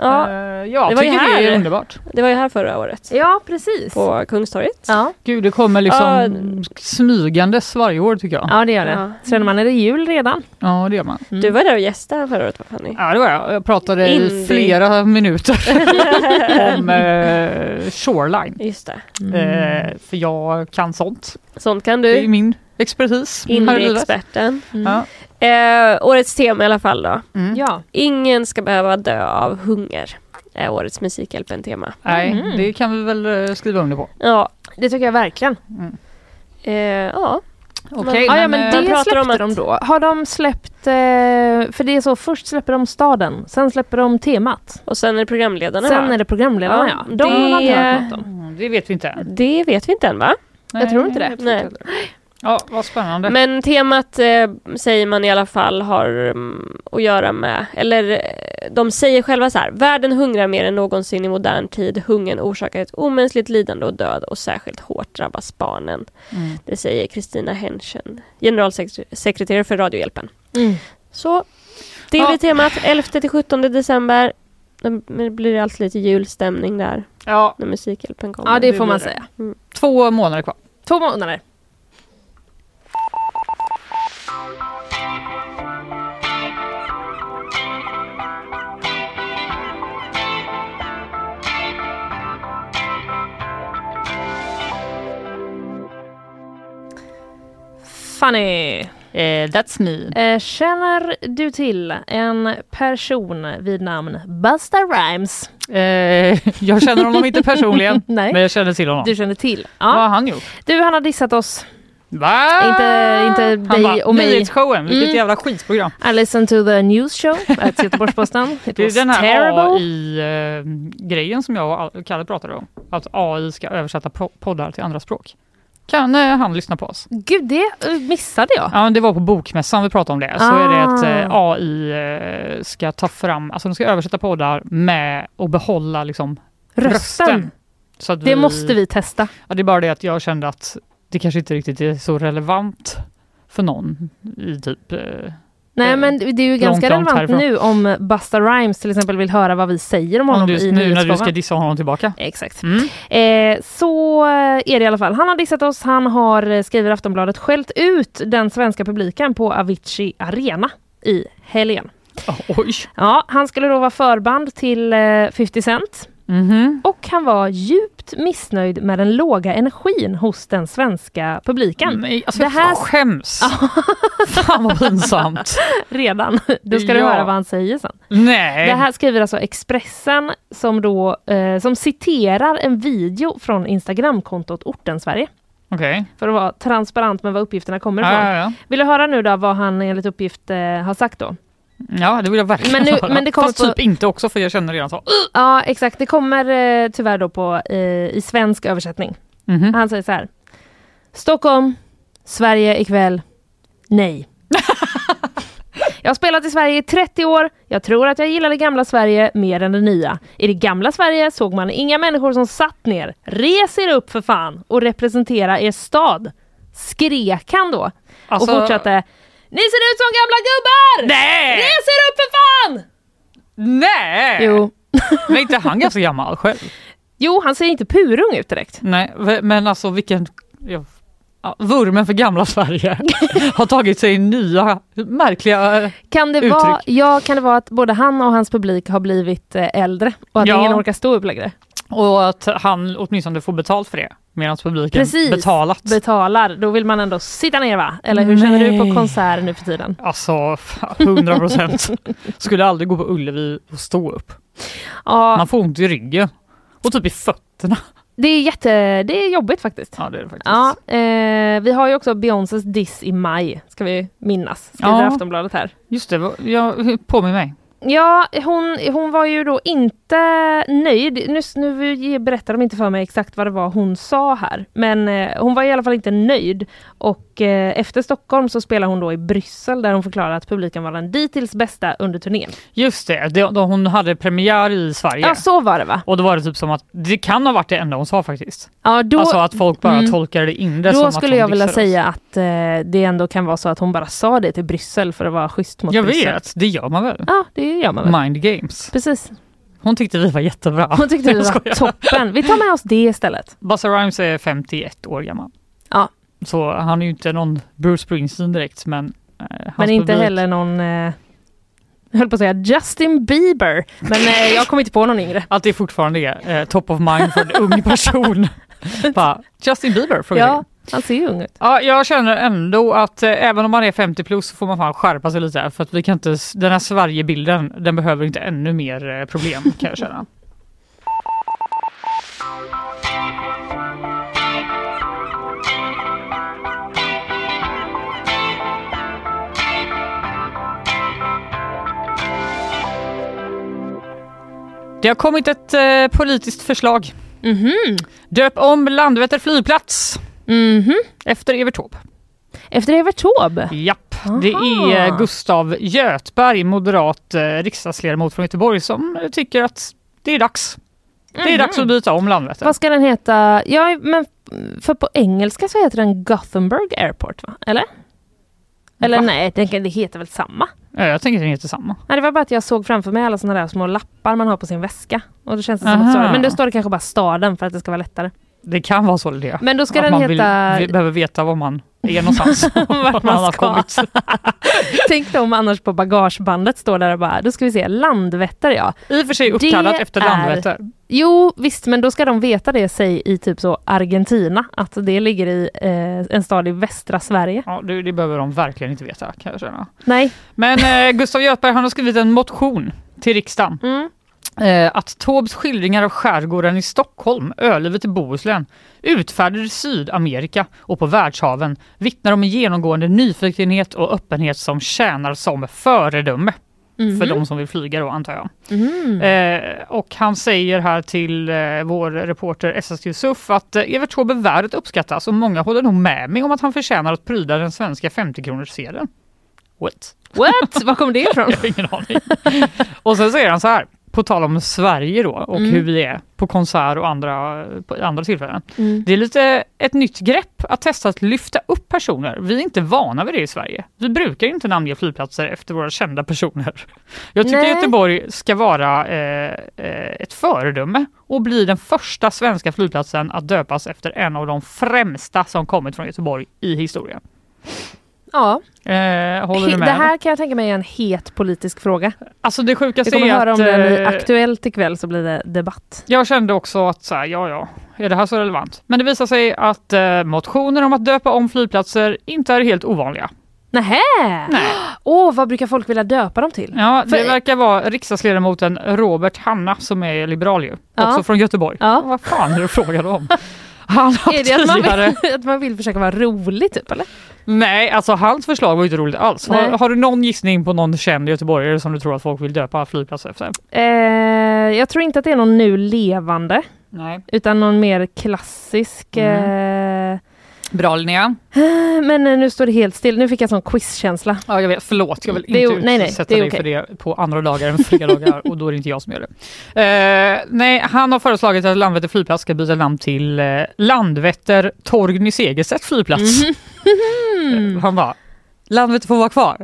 Ja, Eh, ja, Det det var ju tycker här. det är underbart. det var ju här förra året. Ja, precis. På Kungstorget. Ja. Gud, det kommer liksom Ja. smygandes varje år tycker jag. ja, Mm. det gör det. Ja. Känner man är det jul redan? Ja, det gör man. Du var där och gästade förra året, va, Fanny? Ja, det var jag. Jag pratade Indie. i flera minuter om eh, Shoreline. Just det. Mm. Eh, för jag kan sånt. Sånt kan Det är du. min expertis. här i livet. Indie-experten. Ja. Eh, årets tema i alla fall då. Mm. Ja. Ingen ska behöva dö av hunger. Är årets Musikhjälpen-tema. Nej, Mhm. det kan vi väl eh, skriva under på. Ja. Det tycker jag verkligen. Eh, ja. Okej, Ja, ja, men eh, man det pratar släppte om att- de då. Har de släppt... eh, För det är så, först släpper de staden, sen släpper de temat. Och sen är det programledarna Sen va? är det programledarna, Ja, ja. De har man inte det- hört något om. mm, det vet vi inte än. Det vet vi inte än va? Nej, tror inte det. tror Nej. inte det. Ja, vad spännande. Men temat eh, säger man i alla fall har mm, att göra med, eller eh, de säger själva så här, världen hungrar mer än någonsin i modern tid, hungern orsakar ett omänskligt lidande och död och särskilt hårt drabbas barnen. Mm. Det säger Kristina Henschen, generalsekreterare för Radiohjälpen. Mm. Så det Ja. blir temat 11-17 december. Då blir det alltid lite julstämning där Ja, när Musikhjälpen kommer. Ja, det det får man blir det. säga. två månader kvar. Två månader. Fanny, that's me. eh, känner du till en person vid namn Busta Rhymes? Eh, jag känner honom inte personligen, Nej. men jag känner till honom. Du känner till? Vad har Ja. han gjort? Du, han har dissat oss. Va? Inte- inte dig han bara, och mig. Nyhetsshowen, vilket Mm. jävla skitprogram. I listened to the news show at Göteborgs-Posten. It Det är was den här terrible. AI-grejen som jag och Kalle pratade om. Att AI ska översätta po- poddar till andra språk. Kan eh, han lyssna på oss? Gud, det eh, missade jag. Ja, men det var på Bokmässan vi pratade om det. Så är det att eh, Ah. AI eh, ska ta fram, alltså de ska översätta poddar med och behålla liksom Rösten. Så att Det måste vi testa. Ja, det är bara det att jag kände att det kanske inte riktigt är så relevant för någon i typ... Eh, Nej, Eh, men det är ju långt, ganska långt relevant härifrån. nu om Busta Rhymes till exempel vill höra vad vi säger om om honom du, i nu när du nyhetsshowen. ska dissa honom tillbaka. Exakt. Mm. Eh, så eh, är det i alla fall. Han har dissat oss, han har, eh, skriver Aftonbladet, skällt ut den svenska publiken på Avicii Arena i helgen. Ah, oj! Ja, han skulle då vara förband till eh, 50 Cent. Mhm. Och han var djupt missnöjd med den låga energin hos den svenska publiken. Nej, alltså Det här- jag skäms! Fan vad pinsamt. Redan. Då ska du Ja. höra vad han säger sen. Nej. Det här skriver alltså Expressen som, då, eh, som citerar en video från Instagramkontot Orten Sverige. Okej. För att vara transparent med var uppgifterna kommer ifrån. Ja, ja, ja. Vill du höra nu då vad han enligt uppgift eh, har sagt då? ja, det vill jag verkligen Men nu- höra. men det kommer Fast på- typ inte också för jag känner redan så. Ja exakt, det kommer eh, tyvärr då på eh, i svensk översättning. Mhm. Han säger så här. Stockholm, Sverige ikväll. Nej. jag har spelat i Sverige i 30 år. Jag tror att jag gillar det gamla Sverige mer än det nya. I det gamla Sverige såg man inga människor som satt ner. Res er upp för fan och representera er stad. Skrek han då. Alltså- Och fortsatte. Ni ser ut som gamla gubbar! Nej! Res er upp för fan! Nej! Jo. Men inte han ganska gammal själv? Jo, han ser inte purung ut direkt. Nej, v- men alltså vilken... Ja, ja, vurmen för gamla Sverige har tagit sig nya märkliga... Kan det, Uttryck. vara, ja, kan det vara att både han och hans publik har blivit eh, äldre och att Ja. ingen orkar stå upp längre? Och att han åtminstone får betalt för det medan publiken Precis. betalat. Betalar, då vill man ändå sitta ner va? Eller hur känner du Nej. på konserter nu för tiden? alltså, fan, 100 procent. Skulle aldrig gå på Ullevi och stå upp. Ja, Man får ont i ryggen. Och typ i fötterna. det är, jätte, det är jobbigt faktiskt. Ja, det är det faktiskt. Ja, eh, vi har ju också Beyoncés diss i maj, ska vi minnas, skriver Ja. Aftonbladet här. Just det, vad- jag, påminn mig. Ja, hon, hon var ju då inte nöjd. Nu, nu ge- berättar de inte för mig exakt vad det var hon sa här. Men eh, hon var i alla fall inte nöjd. Och eh, efter Stockholm så spelar hon då i Bryssel där hon förklarar att publiken var den dittills bästa under turnén. Just det, det då hon hade premiär i Sverige. Ja, så var det va? Och då var det typ som att, det kan ha varit det enda hon sa faktiskt. Ja, då, alltså att folk bara mm. tolkade in det som då att skulle hon jag vilja dissar oss. säga att eh, det ändå kan vara så att hon bara sa det till Bryssel för att vara schysst mot Jag Bryssel. vet, det gör man väl? Ja, det gör man väl. Mind games. Precis. Hon tyckte vi var jättebra. Hon tyckte det Jag var skojar. toppen. Vi tar med oss det istället. Buzzer Rhymes är 51 år gammal. Ja. Så han är ju inte någon Bruce Springsteen direkt men... Eh, hans Men inte publik- heller någon, eh, jag höll på att säga Justin Bieber. Men eh, jag kom inte på någon yngre. Att det fortfarande är eh, top of mind för en ung person. Bara, Justin Bieber? Ja, Ja. han ser ju ung ut. ja, jag känner ändå att eh, även om man är 50 plus så får man fan skärpa sig lite för att vi kan inte, s- den här Sverigebilden den behöver inte ännu mer eh, problem kan jag känna. Det har kommit ett eh, politiskt förslag. Döp om Landvetter flygplats Mhm. efter Evert Taube. Efter Evert Taube. Japp, det är eh, Gustav Götberg, moderat eh, riksdagsledamot från Göteborg, som eh, tycker att det är dags. Det Mhm. är dags att byta om Landvetter. Vad ska den heta? Ja, men för på engelska så heter den Gothenburg Airport, va? Eller? Eller Va? nej, den, kan- det heter väl samma? Ja, Jag tänker att det heter samma. Nej, det var bara att jag såg framför mig alla såna där små lappar man har på sin väska. Och då känns det som Aha. att staden, men då står det kanske bara staden för att det ska vara lättare. Det kan vara så det är. Men då ska att den man heta... vill, vi behöver veta var man är någonstans. Vart man ska. Tänk då om annars på bagagebandet står där och bara, då ska vi se, Landvetter ja. I och för sig uppkallat Det efter är- Landvetter. Jo visst, men då ska de veta det sig i typ så Argentina, att det ligger i eh, en stad i västra Sverige. Ja, det, det behöver de verkligen inte veta kan jag känna. Nej. Men eh, Gustav Göthberg han har skrivit en motion till riksdagen. Mm. Eh, att Taubes skildringar av skärgården i Stockholm, ölivet i Bohuslän, utfärder i Sydamerika och på världshaven vittnar om en genomgående nyfikenhet och öppenhet som tjänar som föredöme. Mhm. Mm. För de som vill flyga då antar jag. Eh, och han säger här till eh, vår reporter SS Yusuf att eh, Evert Taube värdet uppskattas och många håller nog med mig om att han förtjänar att pryda den svenska 50-kronorssedeln. What? What? Var kom det ifrån? Jag har ingen aning. och sen säger han så här, på tal om Sverige då och Mm. hur vi är på konsert och andra, på andra tillfällen. Mm. Det är lite ett nytt grepp att testa att lyfta upp personer. Vi är inte vana vid det i Sverige. Vi brukar inte namnge flygplatser efter våra kända personer. Jag tycker Nej. Göteborg ska vara eh, eh, ett föredöme och bli den första svenska flygplatsen att döpas efter en av de främsta som kommit från Göteborg i historien. Ja, Eh, håller he- du det med? här kan jag tänka mig är en het politisk fråga. Alltså det Vi sjukaste kommer är höra att om den i eh, Aktuellt ikväll så blir det debatt. jag kände också att så här, ja, ja, är det här så relevant? Men det visar sig att eh, motioner om att döpa om flygplatser inte är helt ovanliga. Nähä! Nej. Åh, vad brukar folk vilja döpa dem till? Ja, det För- verkar vara riksdagsledamoten Robert Hanna som är liberal ju, Ja. också från Göteborg. Ja. Vad fan är det frågan om? Han har Är det att man, tidigare... vill, att man vill försöka vara rolig typ eller? Nej, alltså hans förslag var ju inte roligt alls. Nej. Har, har du någon gissning på någon känd göteborgare som du tror att folk vill döpa flygplatser efter? Eh, jag tror inte att det är någon nu levande Nej. utan någon mer klassisk. Eh, Bra Linnea. men eh, nu står det helt still. Nu fick jag sån quizkänsla. Ja, jag vet, förlåt, jag vill Det är inte o- nej, nej, utsätta det är dig för det på andra dagar än fredagar och då är det inte jag som gör det. Eh, nej, han har föreslagit att Landvetter flygplats ska byta namn till eh, Landvetter Torgny Segerstedt flygplats. Mhm. Eh, han bara, Landvetter får vara kvar,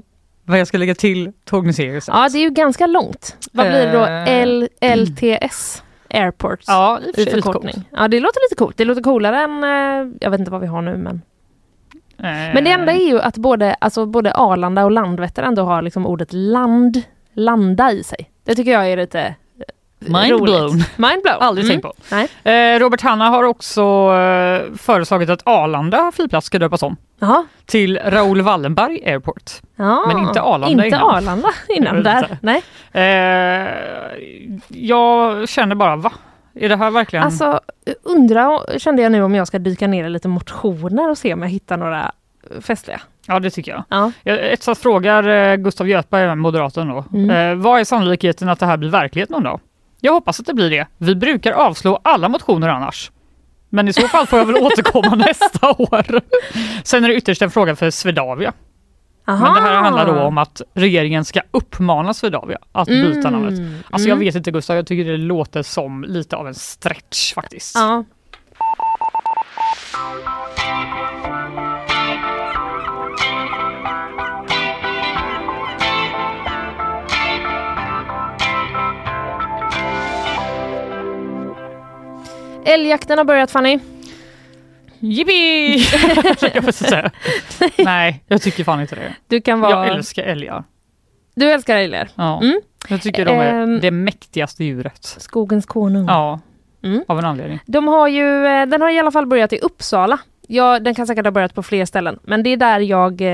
men jag ska lägga till Torgny Segerstedt. Ja, det är ju ganska långt. Vad blir det då? Eh. L- LTS Airport. Ja, i och för I sig lite coolt. förkortning. Ja, det låter lite coolt. Det låter coolare än, eh, jag vet inte vad vi har nu men. Eh, Men det enda är ju att både, alltså, både Arlanda och Landvetter ändå har liksom ordet land, landa i sig. Det tycker jag är lite eh, Mind roligt. blown. Mind blown. Aldrig Mm. tänkt på. Nej. Eh, Robert Hanna har också eh, föreslagit att Arlanda flygplats ska döpas om Jaha. till Raoul Wallenberg Airport. Ja, Men inte Arlanda inte innan. Arlanda innan Jag vet där. inte. Nej. Eh, jag känner bara, va? Är det här verkligen... Alltså, undra kände jag nu om jag ska dyka ner i lite motioner och se om jag hittar några festliga. Ja, det tycker jag. Ja. jag Etsat frågar eh, Gustav Göthberg, även moderaten då. Mm. Eh, vad är sannolikheten att det här blir verklighet någon dag? Jag hoppas att det blir det. Vi brukar avslå alla motioner annars. Men i så fall får jag väl återkomma nästa år. Sen är det ytterst en fråga för Swedavia. Men det här Aha. handlar då om att regeringen ska uppmana Swedavia att byta namnet. Alltså Mm. jag vet inte Gustav, jag tycker det låter som lite av en stretch faktiskt. Ja. Älgjakten har börjat Fanny. Jippi! Försöker jag precis säga. Nej, jag tycker fan inte det. Du kan vara... Jag älskar älgar. Du älskar älgar. Ja. Mm. Jag tycker de är Ehm. det mäktigaste djuret. Skogens konung. Ja, Mm. av en anledning. De har ju, eh, den har i alla fall börjat i Uppsala. Ja, den kan säkert ha börjat på fler ställen, men det är där jag eh,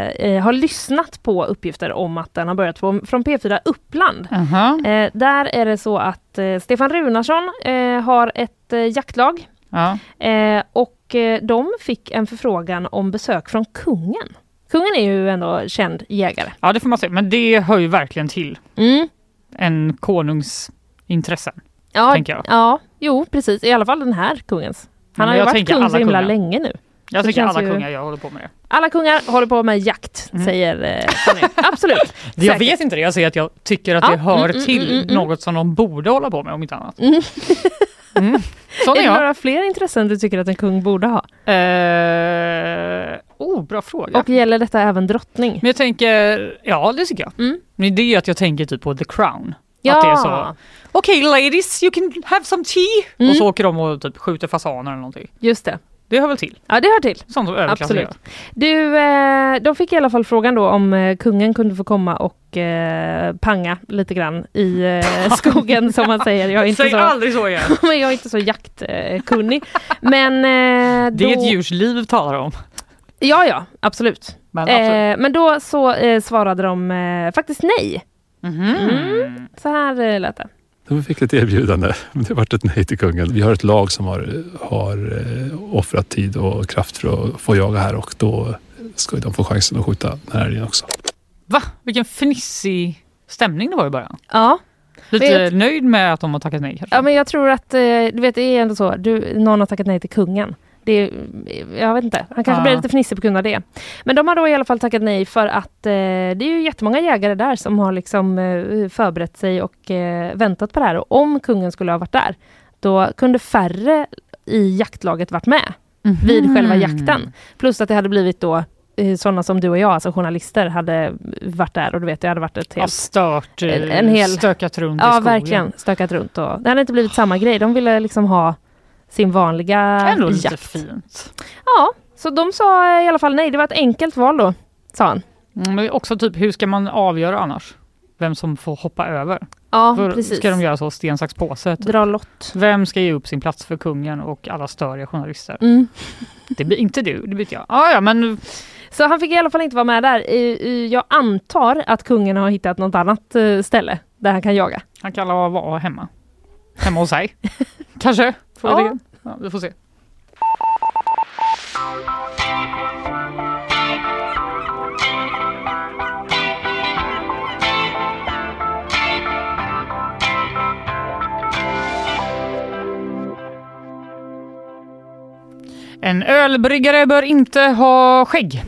eh, har lyssnat på uppgifter om att den har börjat på, från P4 Uppland. Aha. Eh, där är det så att eh, Stefan Runarsson eh, har ett eh, jaktlag Ja. eh, och eh, de fick en förfrågan om besök från kungen. Kungen är ju ändå känd jägare. Mm. ja, det får man säga. Men det hör ju verkligen till en konungs intressen. Ja, Tänker jag. ja, jo precis. I alla fall den här kungens. Men Han har ju jag varit tänker kung så alla himla kungar. länge nu. Jag Så tycker känns alla ju- kungar jag håller på med det. Alla kungar håller på med jakt, säger eh, Fanny. Absolut. Mm. Jag Säkert. vet inte det, jag säger att jag tycker att Ja, det hör mm, mm, till mm, mm. något som de borde hålla på med om inte annat. Mm. Sån Är är det jag. några fler intressen du tycker att en kung borde ha? Eh, oh, bra fråga. Och gäller detta även drottning? Men jag tänker, ja det tycker jag. Mm. Men det är ju att jag tänker typ på The Crown. Ja. Att det är så, okej ladies you can have some tea. Mm. Och så åker de och typ skjuter fasaner eller någonting. Just det. Det hör väl till, Ja, det hör till. sånt som överklassen Absolut. gör. Du, eh, de fick i alla fall frågan då om eh, kungen kunde få komma och eh, panga lite grann i eh, skogen som man säger. Jag är inte Säg så, aldrig så igen. men jag är inte så jaktkunnig. Men eh, då, Det är ett djurs liv vi talar om. Ja, ja, absolut. Men absolut. Eh, men då så eh, svarade de eh, faktiskt nej. Mhm. Mm. Så här eh, lät det. De fick ett erbjudande, men det vart ett nej till kungen. Vi har ett lag som har, har eh, offrat tid och kraft för att få jaga här och då ska de få chansen att skjuta den här älgen också. Va? Vilken fnissig stämning det var i början. Ja, Lite Vet- nöjd med att de har tackat nej kanske. ja men jag tror att eh, du vet, det är ändå så. Du, någon har tackat nej till kungen. Det är, eh, jag vet inte, han kanske Ja. blir lite fnissig på grund av det. Men de har då i alla fall tackat nej för att eh, det är ju jättemånga jägare där som har liksom eh, förberett sig och eh, väntat på det här. Och om kungen skulle ha varit där, då kunde färre i jaktlaget varit med. vid Mhm. själva jakten. Plus att det hade blivit då eh, sådana som du och jag, alltså journalister, hade varit där och du vet, det hade varit ett Ja, helt... stört, eh, typ. En- en hel- stökat runt i Ja, skogen. verkligen. Stökat runt och... Det hade inte blivit samma grej. De ville liksom ha sin vanliga Ändå lite jakt. fint. Ja, så de sa eh, i alla fall nej. Det var ett enkelt val då. sa han. Mm, Men också typ, hur ska man avgöra annars? Vem som får hoppa över? Ja, För precis. Ska de göra så, sten, sax, påse? Typ. Dra lott. Vem ska ge upp sin plats för kungen och alla störiga journalister? Mm. Det blir inte du, det blir inte jag. Ah, ja, men Så han fick i alla fall inte vara med där. Eh, eh, Jag antar att kungen har hittat något annat eh, ställe där han kan jaga. han kan alla vara hemma. Hemma hos sig. Kanske? Frågetecken. Ja, vi får se. En ölbryggare bör inte ha skägg.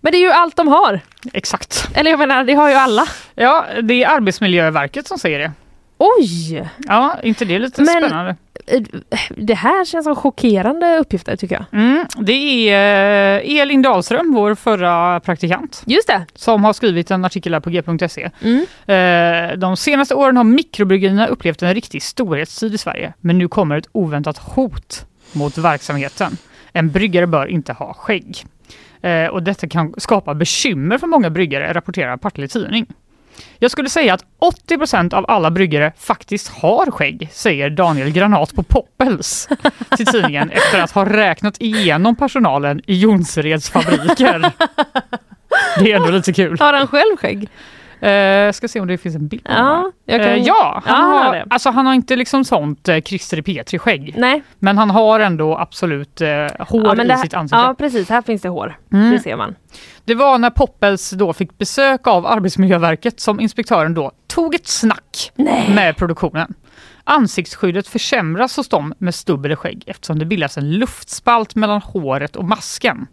Men det är ju allt de har! Exakt. Eller jag menar, det har ju alla. Ja, det är Arbetsmiljöverket som säger det. Oj! Ja, inte det är lite Men- spännande? Eh, Det här känns som chockerande uppgifter tycker jag. Mm, det är eh, Elin Dahlström, vår förra praktikant, Just det! som har skrivit en artikel här på g.se. Mm. Eh, De senaste åren har mikrobryggerierna upplevt en riktig storhetstid i Sverige, men nu kommer ett oväntat hot mot verksamheten. En bryggare bör inte ha skägg. Eh, Och detta kan skapa bekymmer för många bryggare, rapporterar Partille Tidning. Jag skulle säga att 80 av alla bryggare faktiskt har skägg, säger Daniel Granat på Poppels till tidningen efter att ha räknat igenom personalen i Jonsereds fabriker. Det är ändå lite kul. Har han själv skägg? Eh, ska se om det finns en bild på honom Ja, jag här. kan... eh, Ja, han, Ja, han har har, det. alltså, han har inte liksom sånt eh, Christer Petri-skägg. Nej, Men han har ändå absolut eh, hår ja, men i det, sitt ansikte. Mm. ja precis, här finns det hår. Det ser man. Det var när Poppels då fick besök av Arbetsmiljöverket som inspektören då tog ett snack med produktionen. Ansiktsskyddet försämras hos dem med stubb eller skägg eftersom det bildas en luftspalt mellan håret och masken.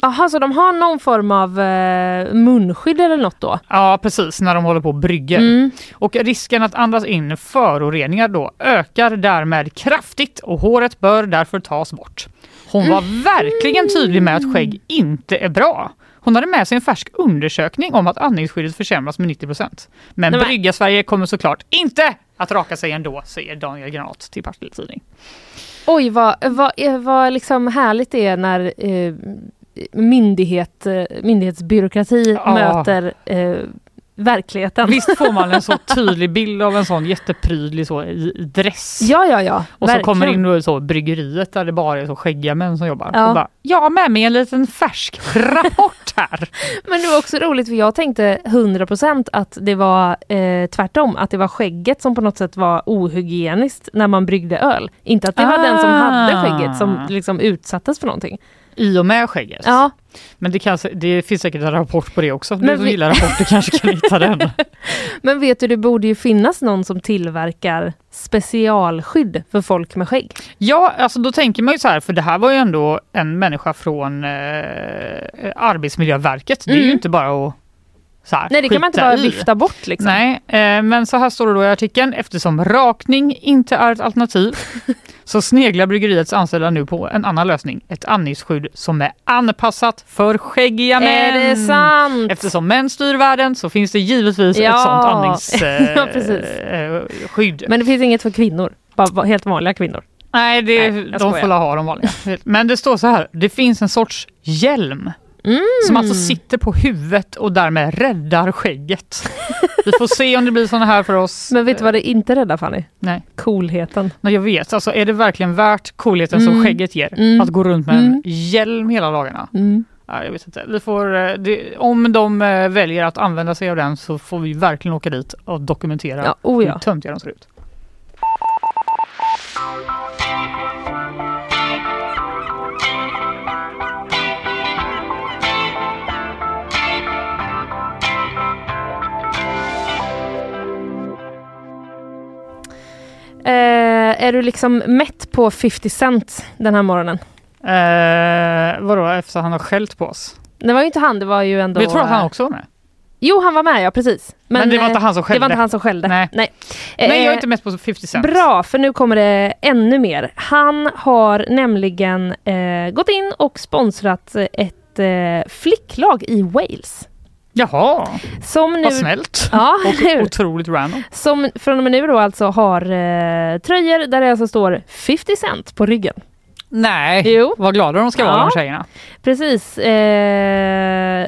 Jaha, så de har någon form av eh, munskydd eller något då? Ja, precis, när de håller på och brygger. Och risken att andas in föroreningar då ökar därmed kraftigt och håret bör därför tas bort. Hon var verkligen tydlig med att skägg inte är bra. Hon hade med sig en färsk undersökning om att andningsskyddet försämras med 90 procent. Men Nej, men- Brygga-Sverige kommer såklart inte att raka sig ändå, säger Daniel Granat till Partille Tidning. Oj, vad, vad, eh, vad liksom härligt det är när eh, myndighet, eh, myndighetsbyråkrati Ja. möter eh, verkligheten. Visst får man en så tydlig bild av en sån jätteprydlig så, i, i dress? Ja, ja, ja. Och så kommer det verkligen. in då så bryggeriet där det bara är så skäggiga män som jobbar. Ja. Och bara, jag har med mig en liten färsk rapport här. Men det var också roligt för jag tänkte 100% att det var eh, tvärtom, att det var skägget som på något sätt var ohygieniskt när man bryggde öl. Inte att det var Ah. den som hade skägget som liksom utsattes för någonting. I och med skägget. Ja, Men det, kanske, det finns säkert en rapport på det också. Men du som vi- gillar rapporter kanske kan hitta den. men vet du, det borde ju finnas någon som tillverkar specialskydd för folk med skägg. Ja, alltså då tänker man ju så här, för det här var ju ändå en människa från eh, Arbetsmiljöverket. Det är ju Mm. inte bara att så här, Nej, det kan man inte skita bara i. vifta bort liksom. Nej, eh, men så här står det då i artikeln. Eftersom rakning inte är ett alternativ så sneglar bryggeriets anställda nu på en annan lösning. Ett andningsskydd som är anpassat för skäggiga är män. det sant? Eftersom män styr världen så finns det givetvis Ja. ett sånt andningsskydd. Ja, precis. Eh, skydd. Men det finns inget för kvinnor, bara bara helt vanliga kvinnor. Nej, det, Nej, jag de skojar. får la ha de vanliga. Men det står så här, det finns en sorts hjälm Mm. som alltså sitter på huvudet och därmed räddar skägget. Vi får se om det blir såna här för oss. Men vet du vad det inte räddar Fanny? Nej. Coolheten. Nej, jag vet. Alltså, är det verkligen värt coolheten som Mm. skägget ger? Mm. Att gå runt med en Mm. hjälm hela dagarna? Mm. Nej, jag vet inte. Vi får, eh, det, om de eh, väljer att använda sig av den så får vi verkligen åka dit och dokumentera Ja, oh ja. hur töntiga de ser ut. Eh, är du liksom mätt på 50 Cent den här morgonen? Eh, vadå, efter han har skällt på oss? Det var ju inte han, det var ju ändå... Men eh, jag tror att han också var med. Jo, han var med, ja precis. Men, det var inte eh, han som det skällde. var inte han som skällde. Eh, Nej. Nej, jag är inte mest på 50 Cent. Bra, för nu kommer det ännu mer. Han har nämligen eh, gått in och sponsrat ett eh, flicklag i Wales. Jaha, Som nu... vad snällt. Ja, Och eller hur? otroligt random. Som från och med nu då alltså har eh, tröjor där det alltså står 50 cent på ryggen. Nej, vad glada de ska vara de tjejerna. Precis. Eh,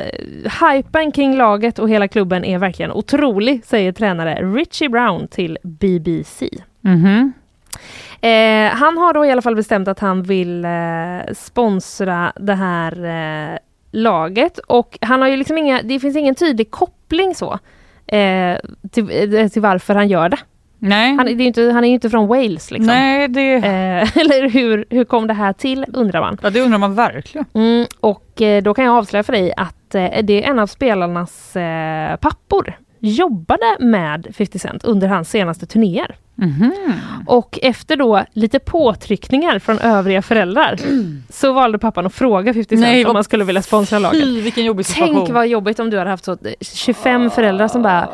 hypen kring laget och hela klubben är verkligen otrolig, säger tränare Richie Brown till BBC. Mhm. Eh, han har då i alla fall bestämt att han vill eh, sponsra det här eh, laget och han har ju liksom inga, det finns ingen tydlig koppling så eh, till, eh, till varför han gör det. Nej. Han, det är ju inte, han är ju inte från Wales liksom. Nej, det... Eh, eller hur, hur kom det här till undrar man. Ja, det undrar man verkligen. Mm, och eh, då kan jag avslöja för dig att eh, det är en av spelarnas eh, pappor jobbade med 50 Cent under hans senaste turnéer. Mhm. Och efter då lite påtryckningar från övriga föräldrar så valde pappan att fråga 50 Cent Nej, vad om han skulle vilja sponsra laget. Fy, vilken jobbig situation. Tänk vad jobbigt om du hade haft så 25 föräldrar som bara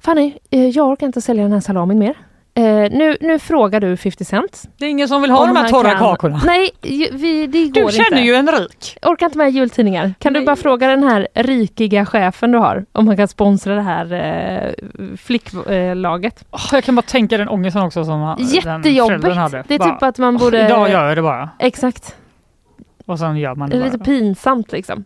Fanny, eh, jag orkar inte sälja den här salamin mer. Eh, nu, nu frågar du 50 Cent. Det är ingen som vill ha om de här han torra kan- kakorna. Nej, ju- vi, det går du inte. känner ju en rik. Orkar inte med jultidningar. Kan du bara fråga den här rikiga chefen du har om han kan sponsra det här eh, flicklaget? Åh, jag kan bara tänka den ångesten också som ha- den Jättejobbigt! föräldern hade. Det är Bara, typ att man borde... Idag gör jag det bara. Exakt. Och sen gör man Det det är lite bara. pinsamt liksom.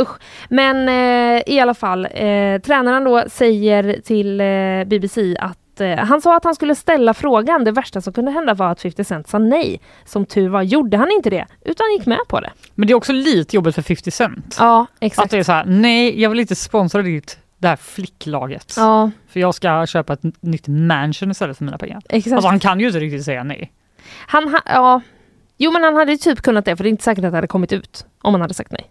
Usch. Men eh, i alla fall, eh, tränaren då säger till eh, BBC att eh, han sa att han skulle ställa frågan. Det värsta som kunde hända var att 50 Cent sa nej. Som tur var gjorde han inte det, utan gick med på det. Men det är också lite jobbigt för 50 Cent. Ja, exakt. Att det är så här, nej jag vill inte sponsra ditt det här flicklaget. Ja. För jag ska köpa ett n- nytt mansion istället för mina pengar. Exakt. Alltså han kan ju inte riktigt säga nej. Han ha, ja. Jo men han hade ju typ kunnat det för det är inte säkert att det hade kommit ut om han hade sagt nej.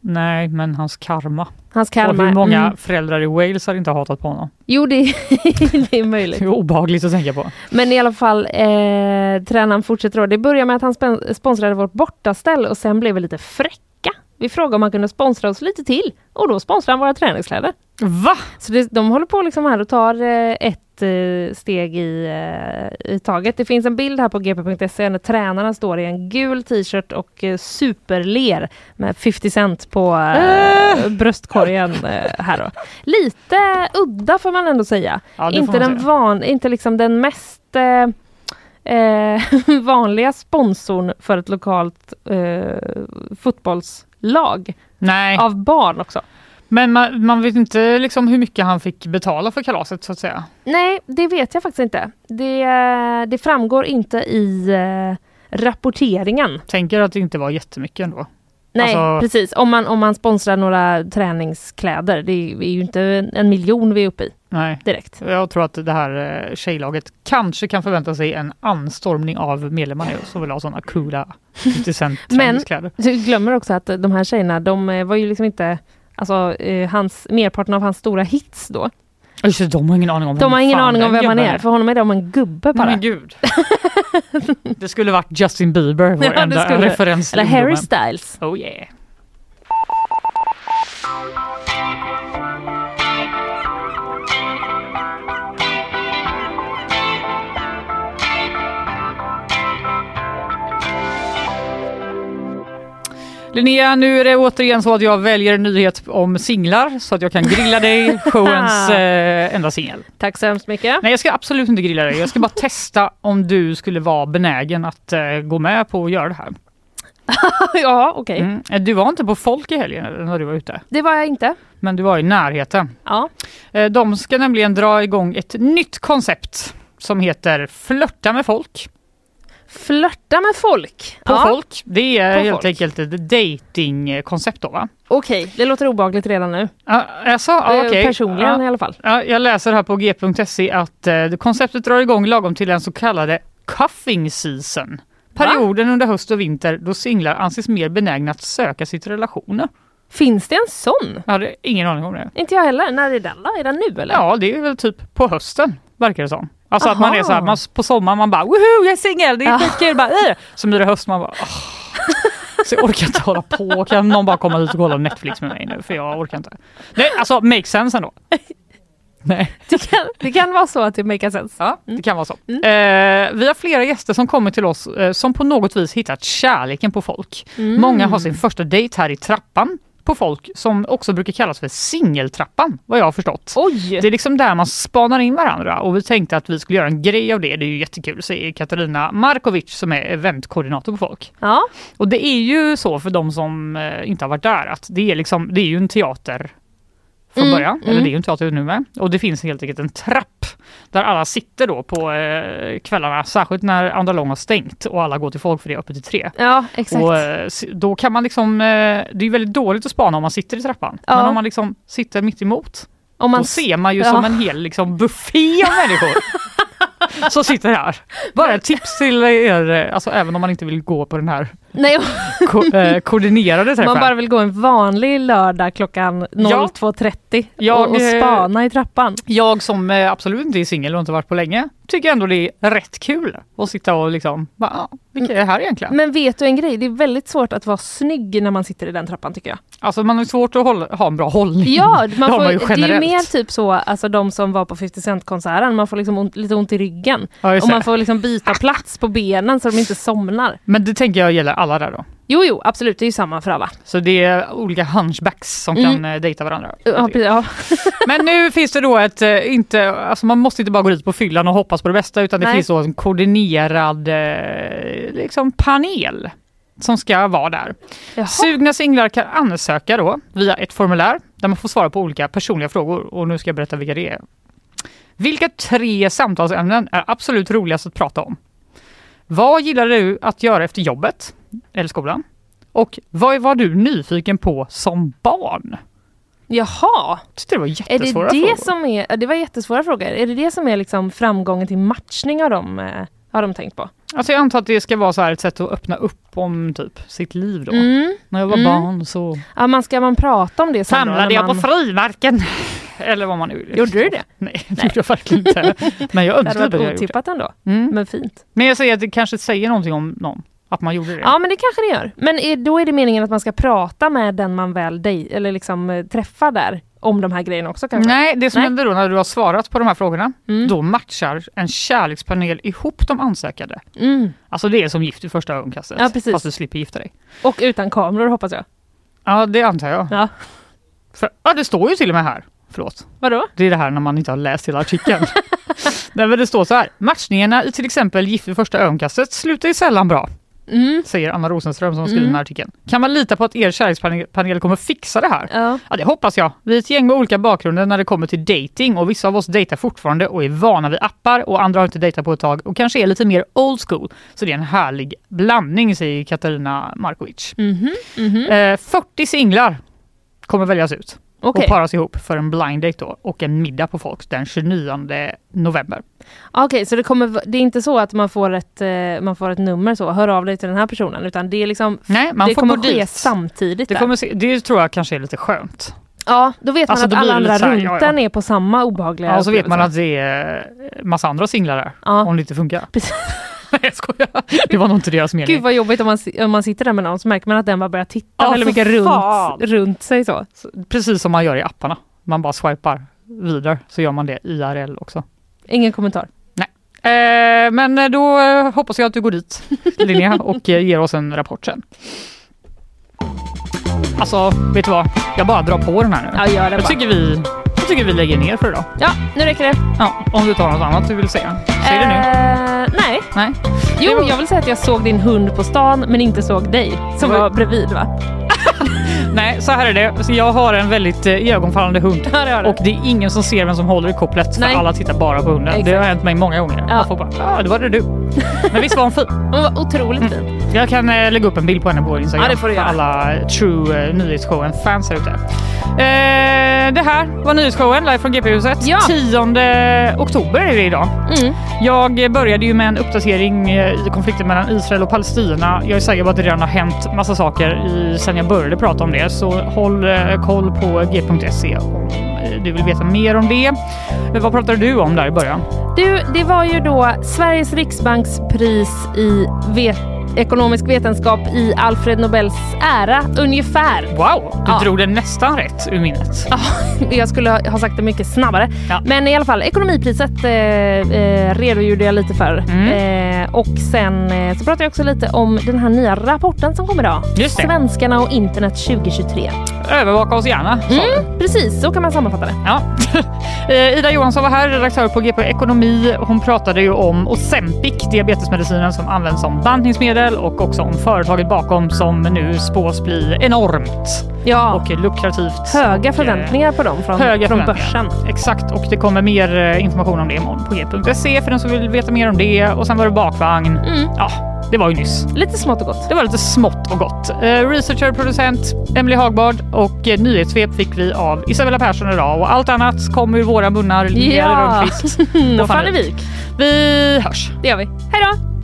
Nej, men hans karma. Hans karma, Och hur många mm. föräldrar i Wales har inte hatat på honom. Jo det, är- det är möjligt. Det är obehagligt att tänka på. Men i alla fall, eh, tränaren fortsätter då. Det börjar med att han spen- sponsrade vårt bortaställ och sen blev vi lite fräcka. Vi frågade om han kunde sponsra oss lite till och då sponsrade han våra träningskläder. Va? Så det, de håller på liksom här och tar eh, ett eh, steg i, eh, i taget. Det finns en bild här på gp.se E när tränarna står i en gul t-shirt och eh, superler med 50 cent på Ah! eh, bröstkorgen eh, här då. Lite udda får man ändå säga. Ja, det får inte, man den säga. van, inte liksom den mest eh, eh, vanliga sponsorn för ett lokalt eh, fotbollslag Nej, av barn också. men man, man vet inte liksom hur mycket han fick betala för kalaset så att säga. Nej, det vet jag faktiskt inte. Det, det framgår inte i eh, rapporteringen. Tänker att det inte var jättemycket ändå. Nej, Alltså- precis. Om man, om man sponsrar några träningskläder. Det är ju inte en, en miljon vi är uppe i Nej. direkt. Jag tror att det här eh, tjejlaget kanske kan förvänta sig en anstormning av medlemmar nu som vill ha sådana coola 50 cent Men- träningskläder. Du glömmer också att de här tjejerna, de eh, var ju liksom inte... Alltså, eh, hans, merparten av hans stora hits då. Just det, de har ingen aning om De vem har ingen fan aning om den vem han gubben är. För honom är de en gubbe Nej, bara. men gud. Det skulle varit Justin Bieber, vår Ja, det enda skulle det. referens till Eller Harry ungdomen. Styles. Oh yeah. Linnea, nu är det återigen så att jag väljer en nyhet om singlar så att jag kan grilla dig, showens eh, enda singel. Tack så hemskt mycket. Nej, jag ska absolut inte grilla dig. Jag ska bara testa om du skulle vara benägen att eh, gå med på att göra det här. ja, okej. Mm. Du var inte på folk i helgen när du var ute, Det var jag inte. men du var i närheten. Ja. Eh, De ska nämligen dra igång ett nytt koncept som heter Flörta med folk. Flörta med folk. På ja. folk. Det är På helt folk. enkelt ett datingkoncept då va? Okej, det låter obehagligt redan nu. Ja, Alltså, Eh, ja, okej. Personligen Ja, i alla fall. ja, jag läser här på g.se att eh, det- konceptet drar igång lagom till den så kallade cuffing season. Perioden under höst och vinter då singlar anses mer benägna att söka sitt relation. Finns det en sån? Jag hade ingen aning om det. Inte jag heller. När är den då? Är den nu eller? Ja, det är väl typ på hösten, verkar det som. Alltså att man Aha. är så här, man, på sommaren man bara woho, jag är singel, det Ja. är skitkul. Bara, "Ih." Så blir det höst, man bara "Åh." Så jag orkar inte hålla på, kan någon bara komma hit och kolla Netflix med mig nu för jag orkar inte. Nej, alltså make sense ändå. Nej, Det, kan, det kan vara så att det makes sense. ja, det kan vara så. Eh, vi har flera gäster som kommer till oss eh, som på något vis hittat kärleken på folk. Många har sin första dejt här i trappan på folk som också brukar kallas för singeltrappan, vad jag har förstått. Oj! Det är liksom där man spanar in varandra och vi tänkte att vi skulle göra en grej av det. Det är ju jättekul, säger Katarina Markovic som är eventkoordinator på folk. Ja. Och det är ju så för de som eh, inte har varit där att det är, liksom, det är ju en teater från Mm, början, eller mm. det är ju en teater nu med. Och det finns helt enkelt en trapp där alla sitter då på eh, kvällarna, särskilt när Andra Lång har stängt och alla går till folk för det är öppet till tre. Ja, exakt. Och, eh, s- då kan man liksom, eh, det är ju väldigt dåligt att spana om man sitter i trappan, Ja. men om man liksom sitter mitt emot Om man då ser man ju ja. som en hel liksom, buffé av människor som sitter här. Bara ett tips till er, eh, alltså, även om man inte vill gå på den här Nej, ko- eh, koordinerade träffen. man bara vill gå en vanlig lördag klockan 02.30 Jag, och, och eh, spana i trappan. Jag som eh, absolut inte är singel och inte varit på länge tycker ändå det är rätt kul att sitta och liksom, bara, ah, vilka är det här egentligen? Men vet du en grej? Det är väldigt svårt att vara snygg när man sitter i den trappan tycker jag. Alltså man har svårt att hålla, ha en bra hållning. Ja, Det man har får, man ju det är ju generellt. mer typ så, alltså de som var på 50 Cent-konserten, man får liksom ont, lite ont i ryggen. Ja, just och man det. får liksom byta plats på benen så de inte somnar. Men det tänker jag gäller alla där då. Jo, jo, absolut, det är ju samma för alla. Så det är olika hunchbacks som Mm. kan eh, dejta varandra. Ja, precis, ja. Men nu finns det då ett, eh, inte, alltså man måste inte bara gå dit på fyllan och hoppas på det bästa utan det Nej. finns då en koordinerad eh, liksom panel som ska vara där. Jaha. Sugna singlar kan ansöka då via ett formulär där man får svara på olika personliga frågor och nu ska jag berätta vilka det är. Vilka tre samtalsämnen är absolut roligast att prata om? Vad gillar du att göra efter jobbet eller skolan? Och vad var du nyfiken på som barn? Jaha, Jag tyckte det var är det jättesvåra det frågor. som är, ja, det var jättesvåra frågor, är det det som är liksom framgången till matchning har de, eh, har de tänkt på? Alltså jag antar att det ska vara så här ett sätt att öppna upp om typ sitt liv då. Mm. När jag var Mm. barn så Ja, man ska man prata om det sen då, samlade när jag på man... frimärken. Eller vad man nu vill. Gjorde du det? Nej, det gjorde jag verkligen inte. Men jag önskar Det att hade jag varit hade gjort det. otippat ändå, Mm. men fint. Men jag säger att det kanske säger någonting om någon. Att man gjorde det. Ja, men det kanske det gör. Men är, då är det meningen att man ska prata med den man väl dej, eller liksom eh, träffar där om de här grejerna också kanske? Nej, det som Nej. händer då när du har svarat på de här frågorna, Mm. då matchar en kärlekspanel ihop de ansökande. Mm. Alltså det är som gift i första ögonkastet, Ja, precis. fast du slipper gifta dig. Och utan kameror hoppas jag. Ja, det antar jag. Ja. För, ja, det står ju till och med här. Förlåt. Vadå? Det är det här när man inte har läst hela artikeln. Nej, men det står så här. Matchningarna i till exempel Gift vid första ögonkastet slutar ju sällan bra, Mm. säger Anna Rosenström som har skrivit Mm. den här artikeln. Kan man lita på att er kärlekspanel kommer fixa det här? Ja. Ja, det hoppas jag. Vi är ett gäng med olika bakgrunder när det kommer till dating och vissa av oss dejtar fortfarande och är vana vid appar och andra har inte dejtat på ett tag och kanske är lite mer old school. Så det är en härlig blandning, säger Katarina Markovic. Mhm. Mhm. Eh, 40 singlar kommer väljas ut Okej. och paras ihop för en blind date då och en middag på folk den 29 november. Ah, Okej, så det, kommer, v- det är inte så att man får, ett, eh, man får ett nummer så, hör av dig till den här personen, utan det är liksom Nej, man det får kommer gå ske dit. samtidigt. Det, där. kommer se, det tror jag kanske är lite skönt. Ja, då vet man Alltså, att då blir alla det andra lite så här, runt ja, ja. den är på samma obehagliga Ja, och så vet man upplevelse. att det är massa andra singlar där Ja. om det inte funkar. Precis. Nej jag skojar, det var nog inte deras mening. Gud vad jobbigt om man, si- om man sitter där med någon så märker man att den bara börjar titta Ja, väldigt för mycket fan. runt, runt sig så. Precis som man gör i apparna. Man bara swipar vidare så gör man det IRL också. Ingen kommentar. Eh, men då eh, hoppas jag att du går dit Linnea och eh, ger oss en rapport sen. Alltså, vet du vad? Jag bara drar på den här nu. Ja, gör det Jag bara. tycker vi, jag tycker vi lägger ner för idag. Ja, nu räcker det. Ja, om du tar något annat du vill säga. Säg det nu. Eh, nej. Nej. Jo, Det var- jag vill säga att jag såg din hund på stan men inte såg dig som Vad- var bredvid va? Nej, så här är det. Så Jag har en väldigt eh, iögonfallande hund. Ja, det har du. Och det är ingen som ser vem som håller i kopplet för Nej. alla tittar bara på hunden. Exakt. Det har hänt mig många gånger. Ja. Man får bara, ja ah, det var det du. Men visst var hon fin? Hon var Mm. otroligt fin. Jag kan eh, lägga upp en bild på henne på vår Instagram. Ja, det får du för göra. alla True eh, Nyhetsshowen-fans här ute. Eh, det här var nyhetsshowen live från GP-huset. Ja. 10 oktober är det idag. Mm. Jag började ju med en uppdatering eh, i konflikten mellan Israel och Palestina. Jag är säker på att det redan har hänt massa saker i, sen jag började prata om det, så håll eh, koll på g.se om eh, du vill veta mer om det. Eh, Vad pratade du om där i början? Du, det var ju då Sveriges Riksbanks pris i vet- ekonomisk vetenskap i Alfred Nobels ära, ungefär. Wow, du Ja. drog det nästan rätt ur minnet. Ja, jag skulle ha- ha sagt det mycket snabbare. Ja. Men i alla fall, ekonomipriset eh, eh, redogjorde jag lite för. Mm. Eh, och sen eh, så pratade jag också lite om den här nya rapporten som kommer idag. Just det. Svenskarna och internet 2023. Övervaka oss gärna. sa vi. Precis, så kan man sammanfatta det. Ja. Eh, Ida Johansson var här, redaktör på GP Ekonomi. Hon pratade ju om Ozempic, diabetesmedicinen som används som bantningsmedel och också om företaget bakom som nu spås bli enormt Ja, och lukrativt. höga förväntningar på dem från, Höga från förväntningar. börsen. Exakt, och det kommer mer eh, information om det imorgon på g.se för den som vill veta mer om det. Och sen var det bakvagn. Mm. Ja, det var ju nyss. Lite smått och gott. Det var lite smått och gott. Eh, researcher, producent Emily Hagbard och eh, nyhetssvep fick vi av Isabella Persson idag och allt annat kom ur våra munnar. Linnea Ja. Rönnqvist. Då Och Fanny faller vi. Vi hörs. Det gör vi. Hej då!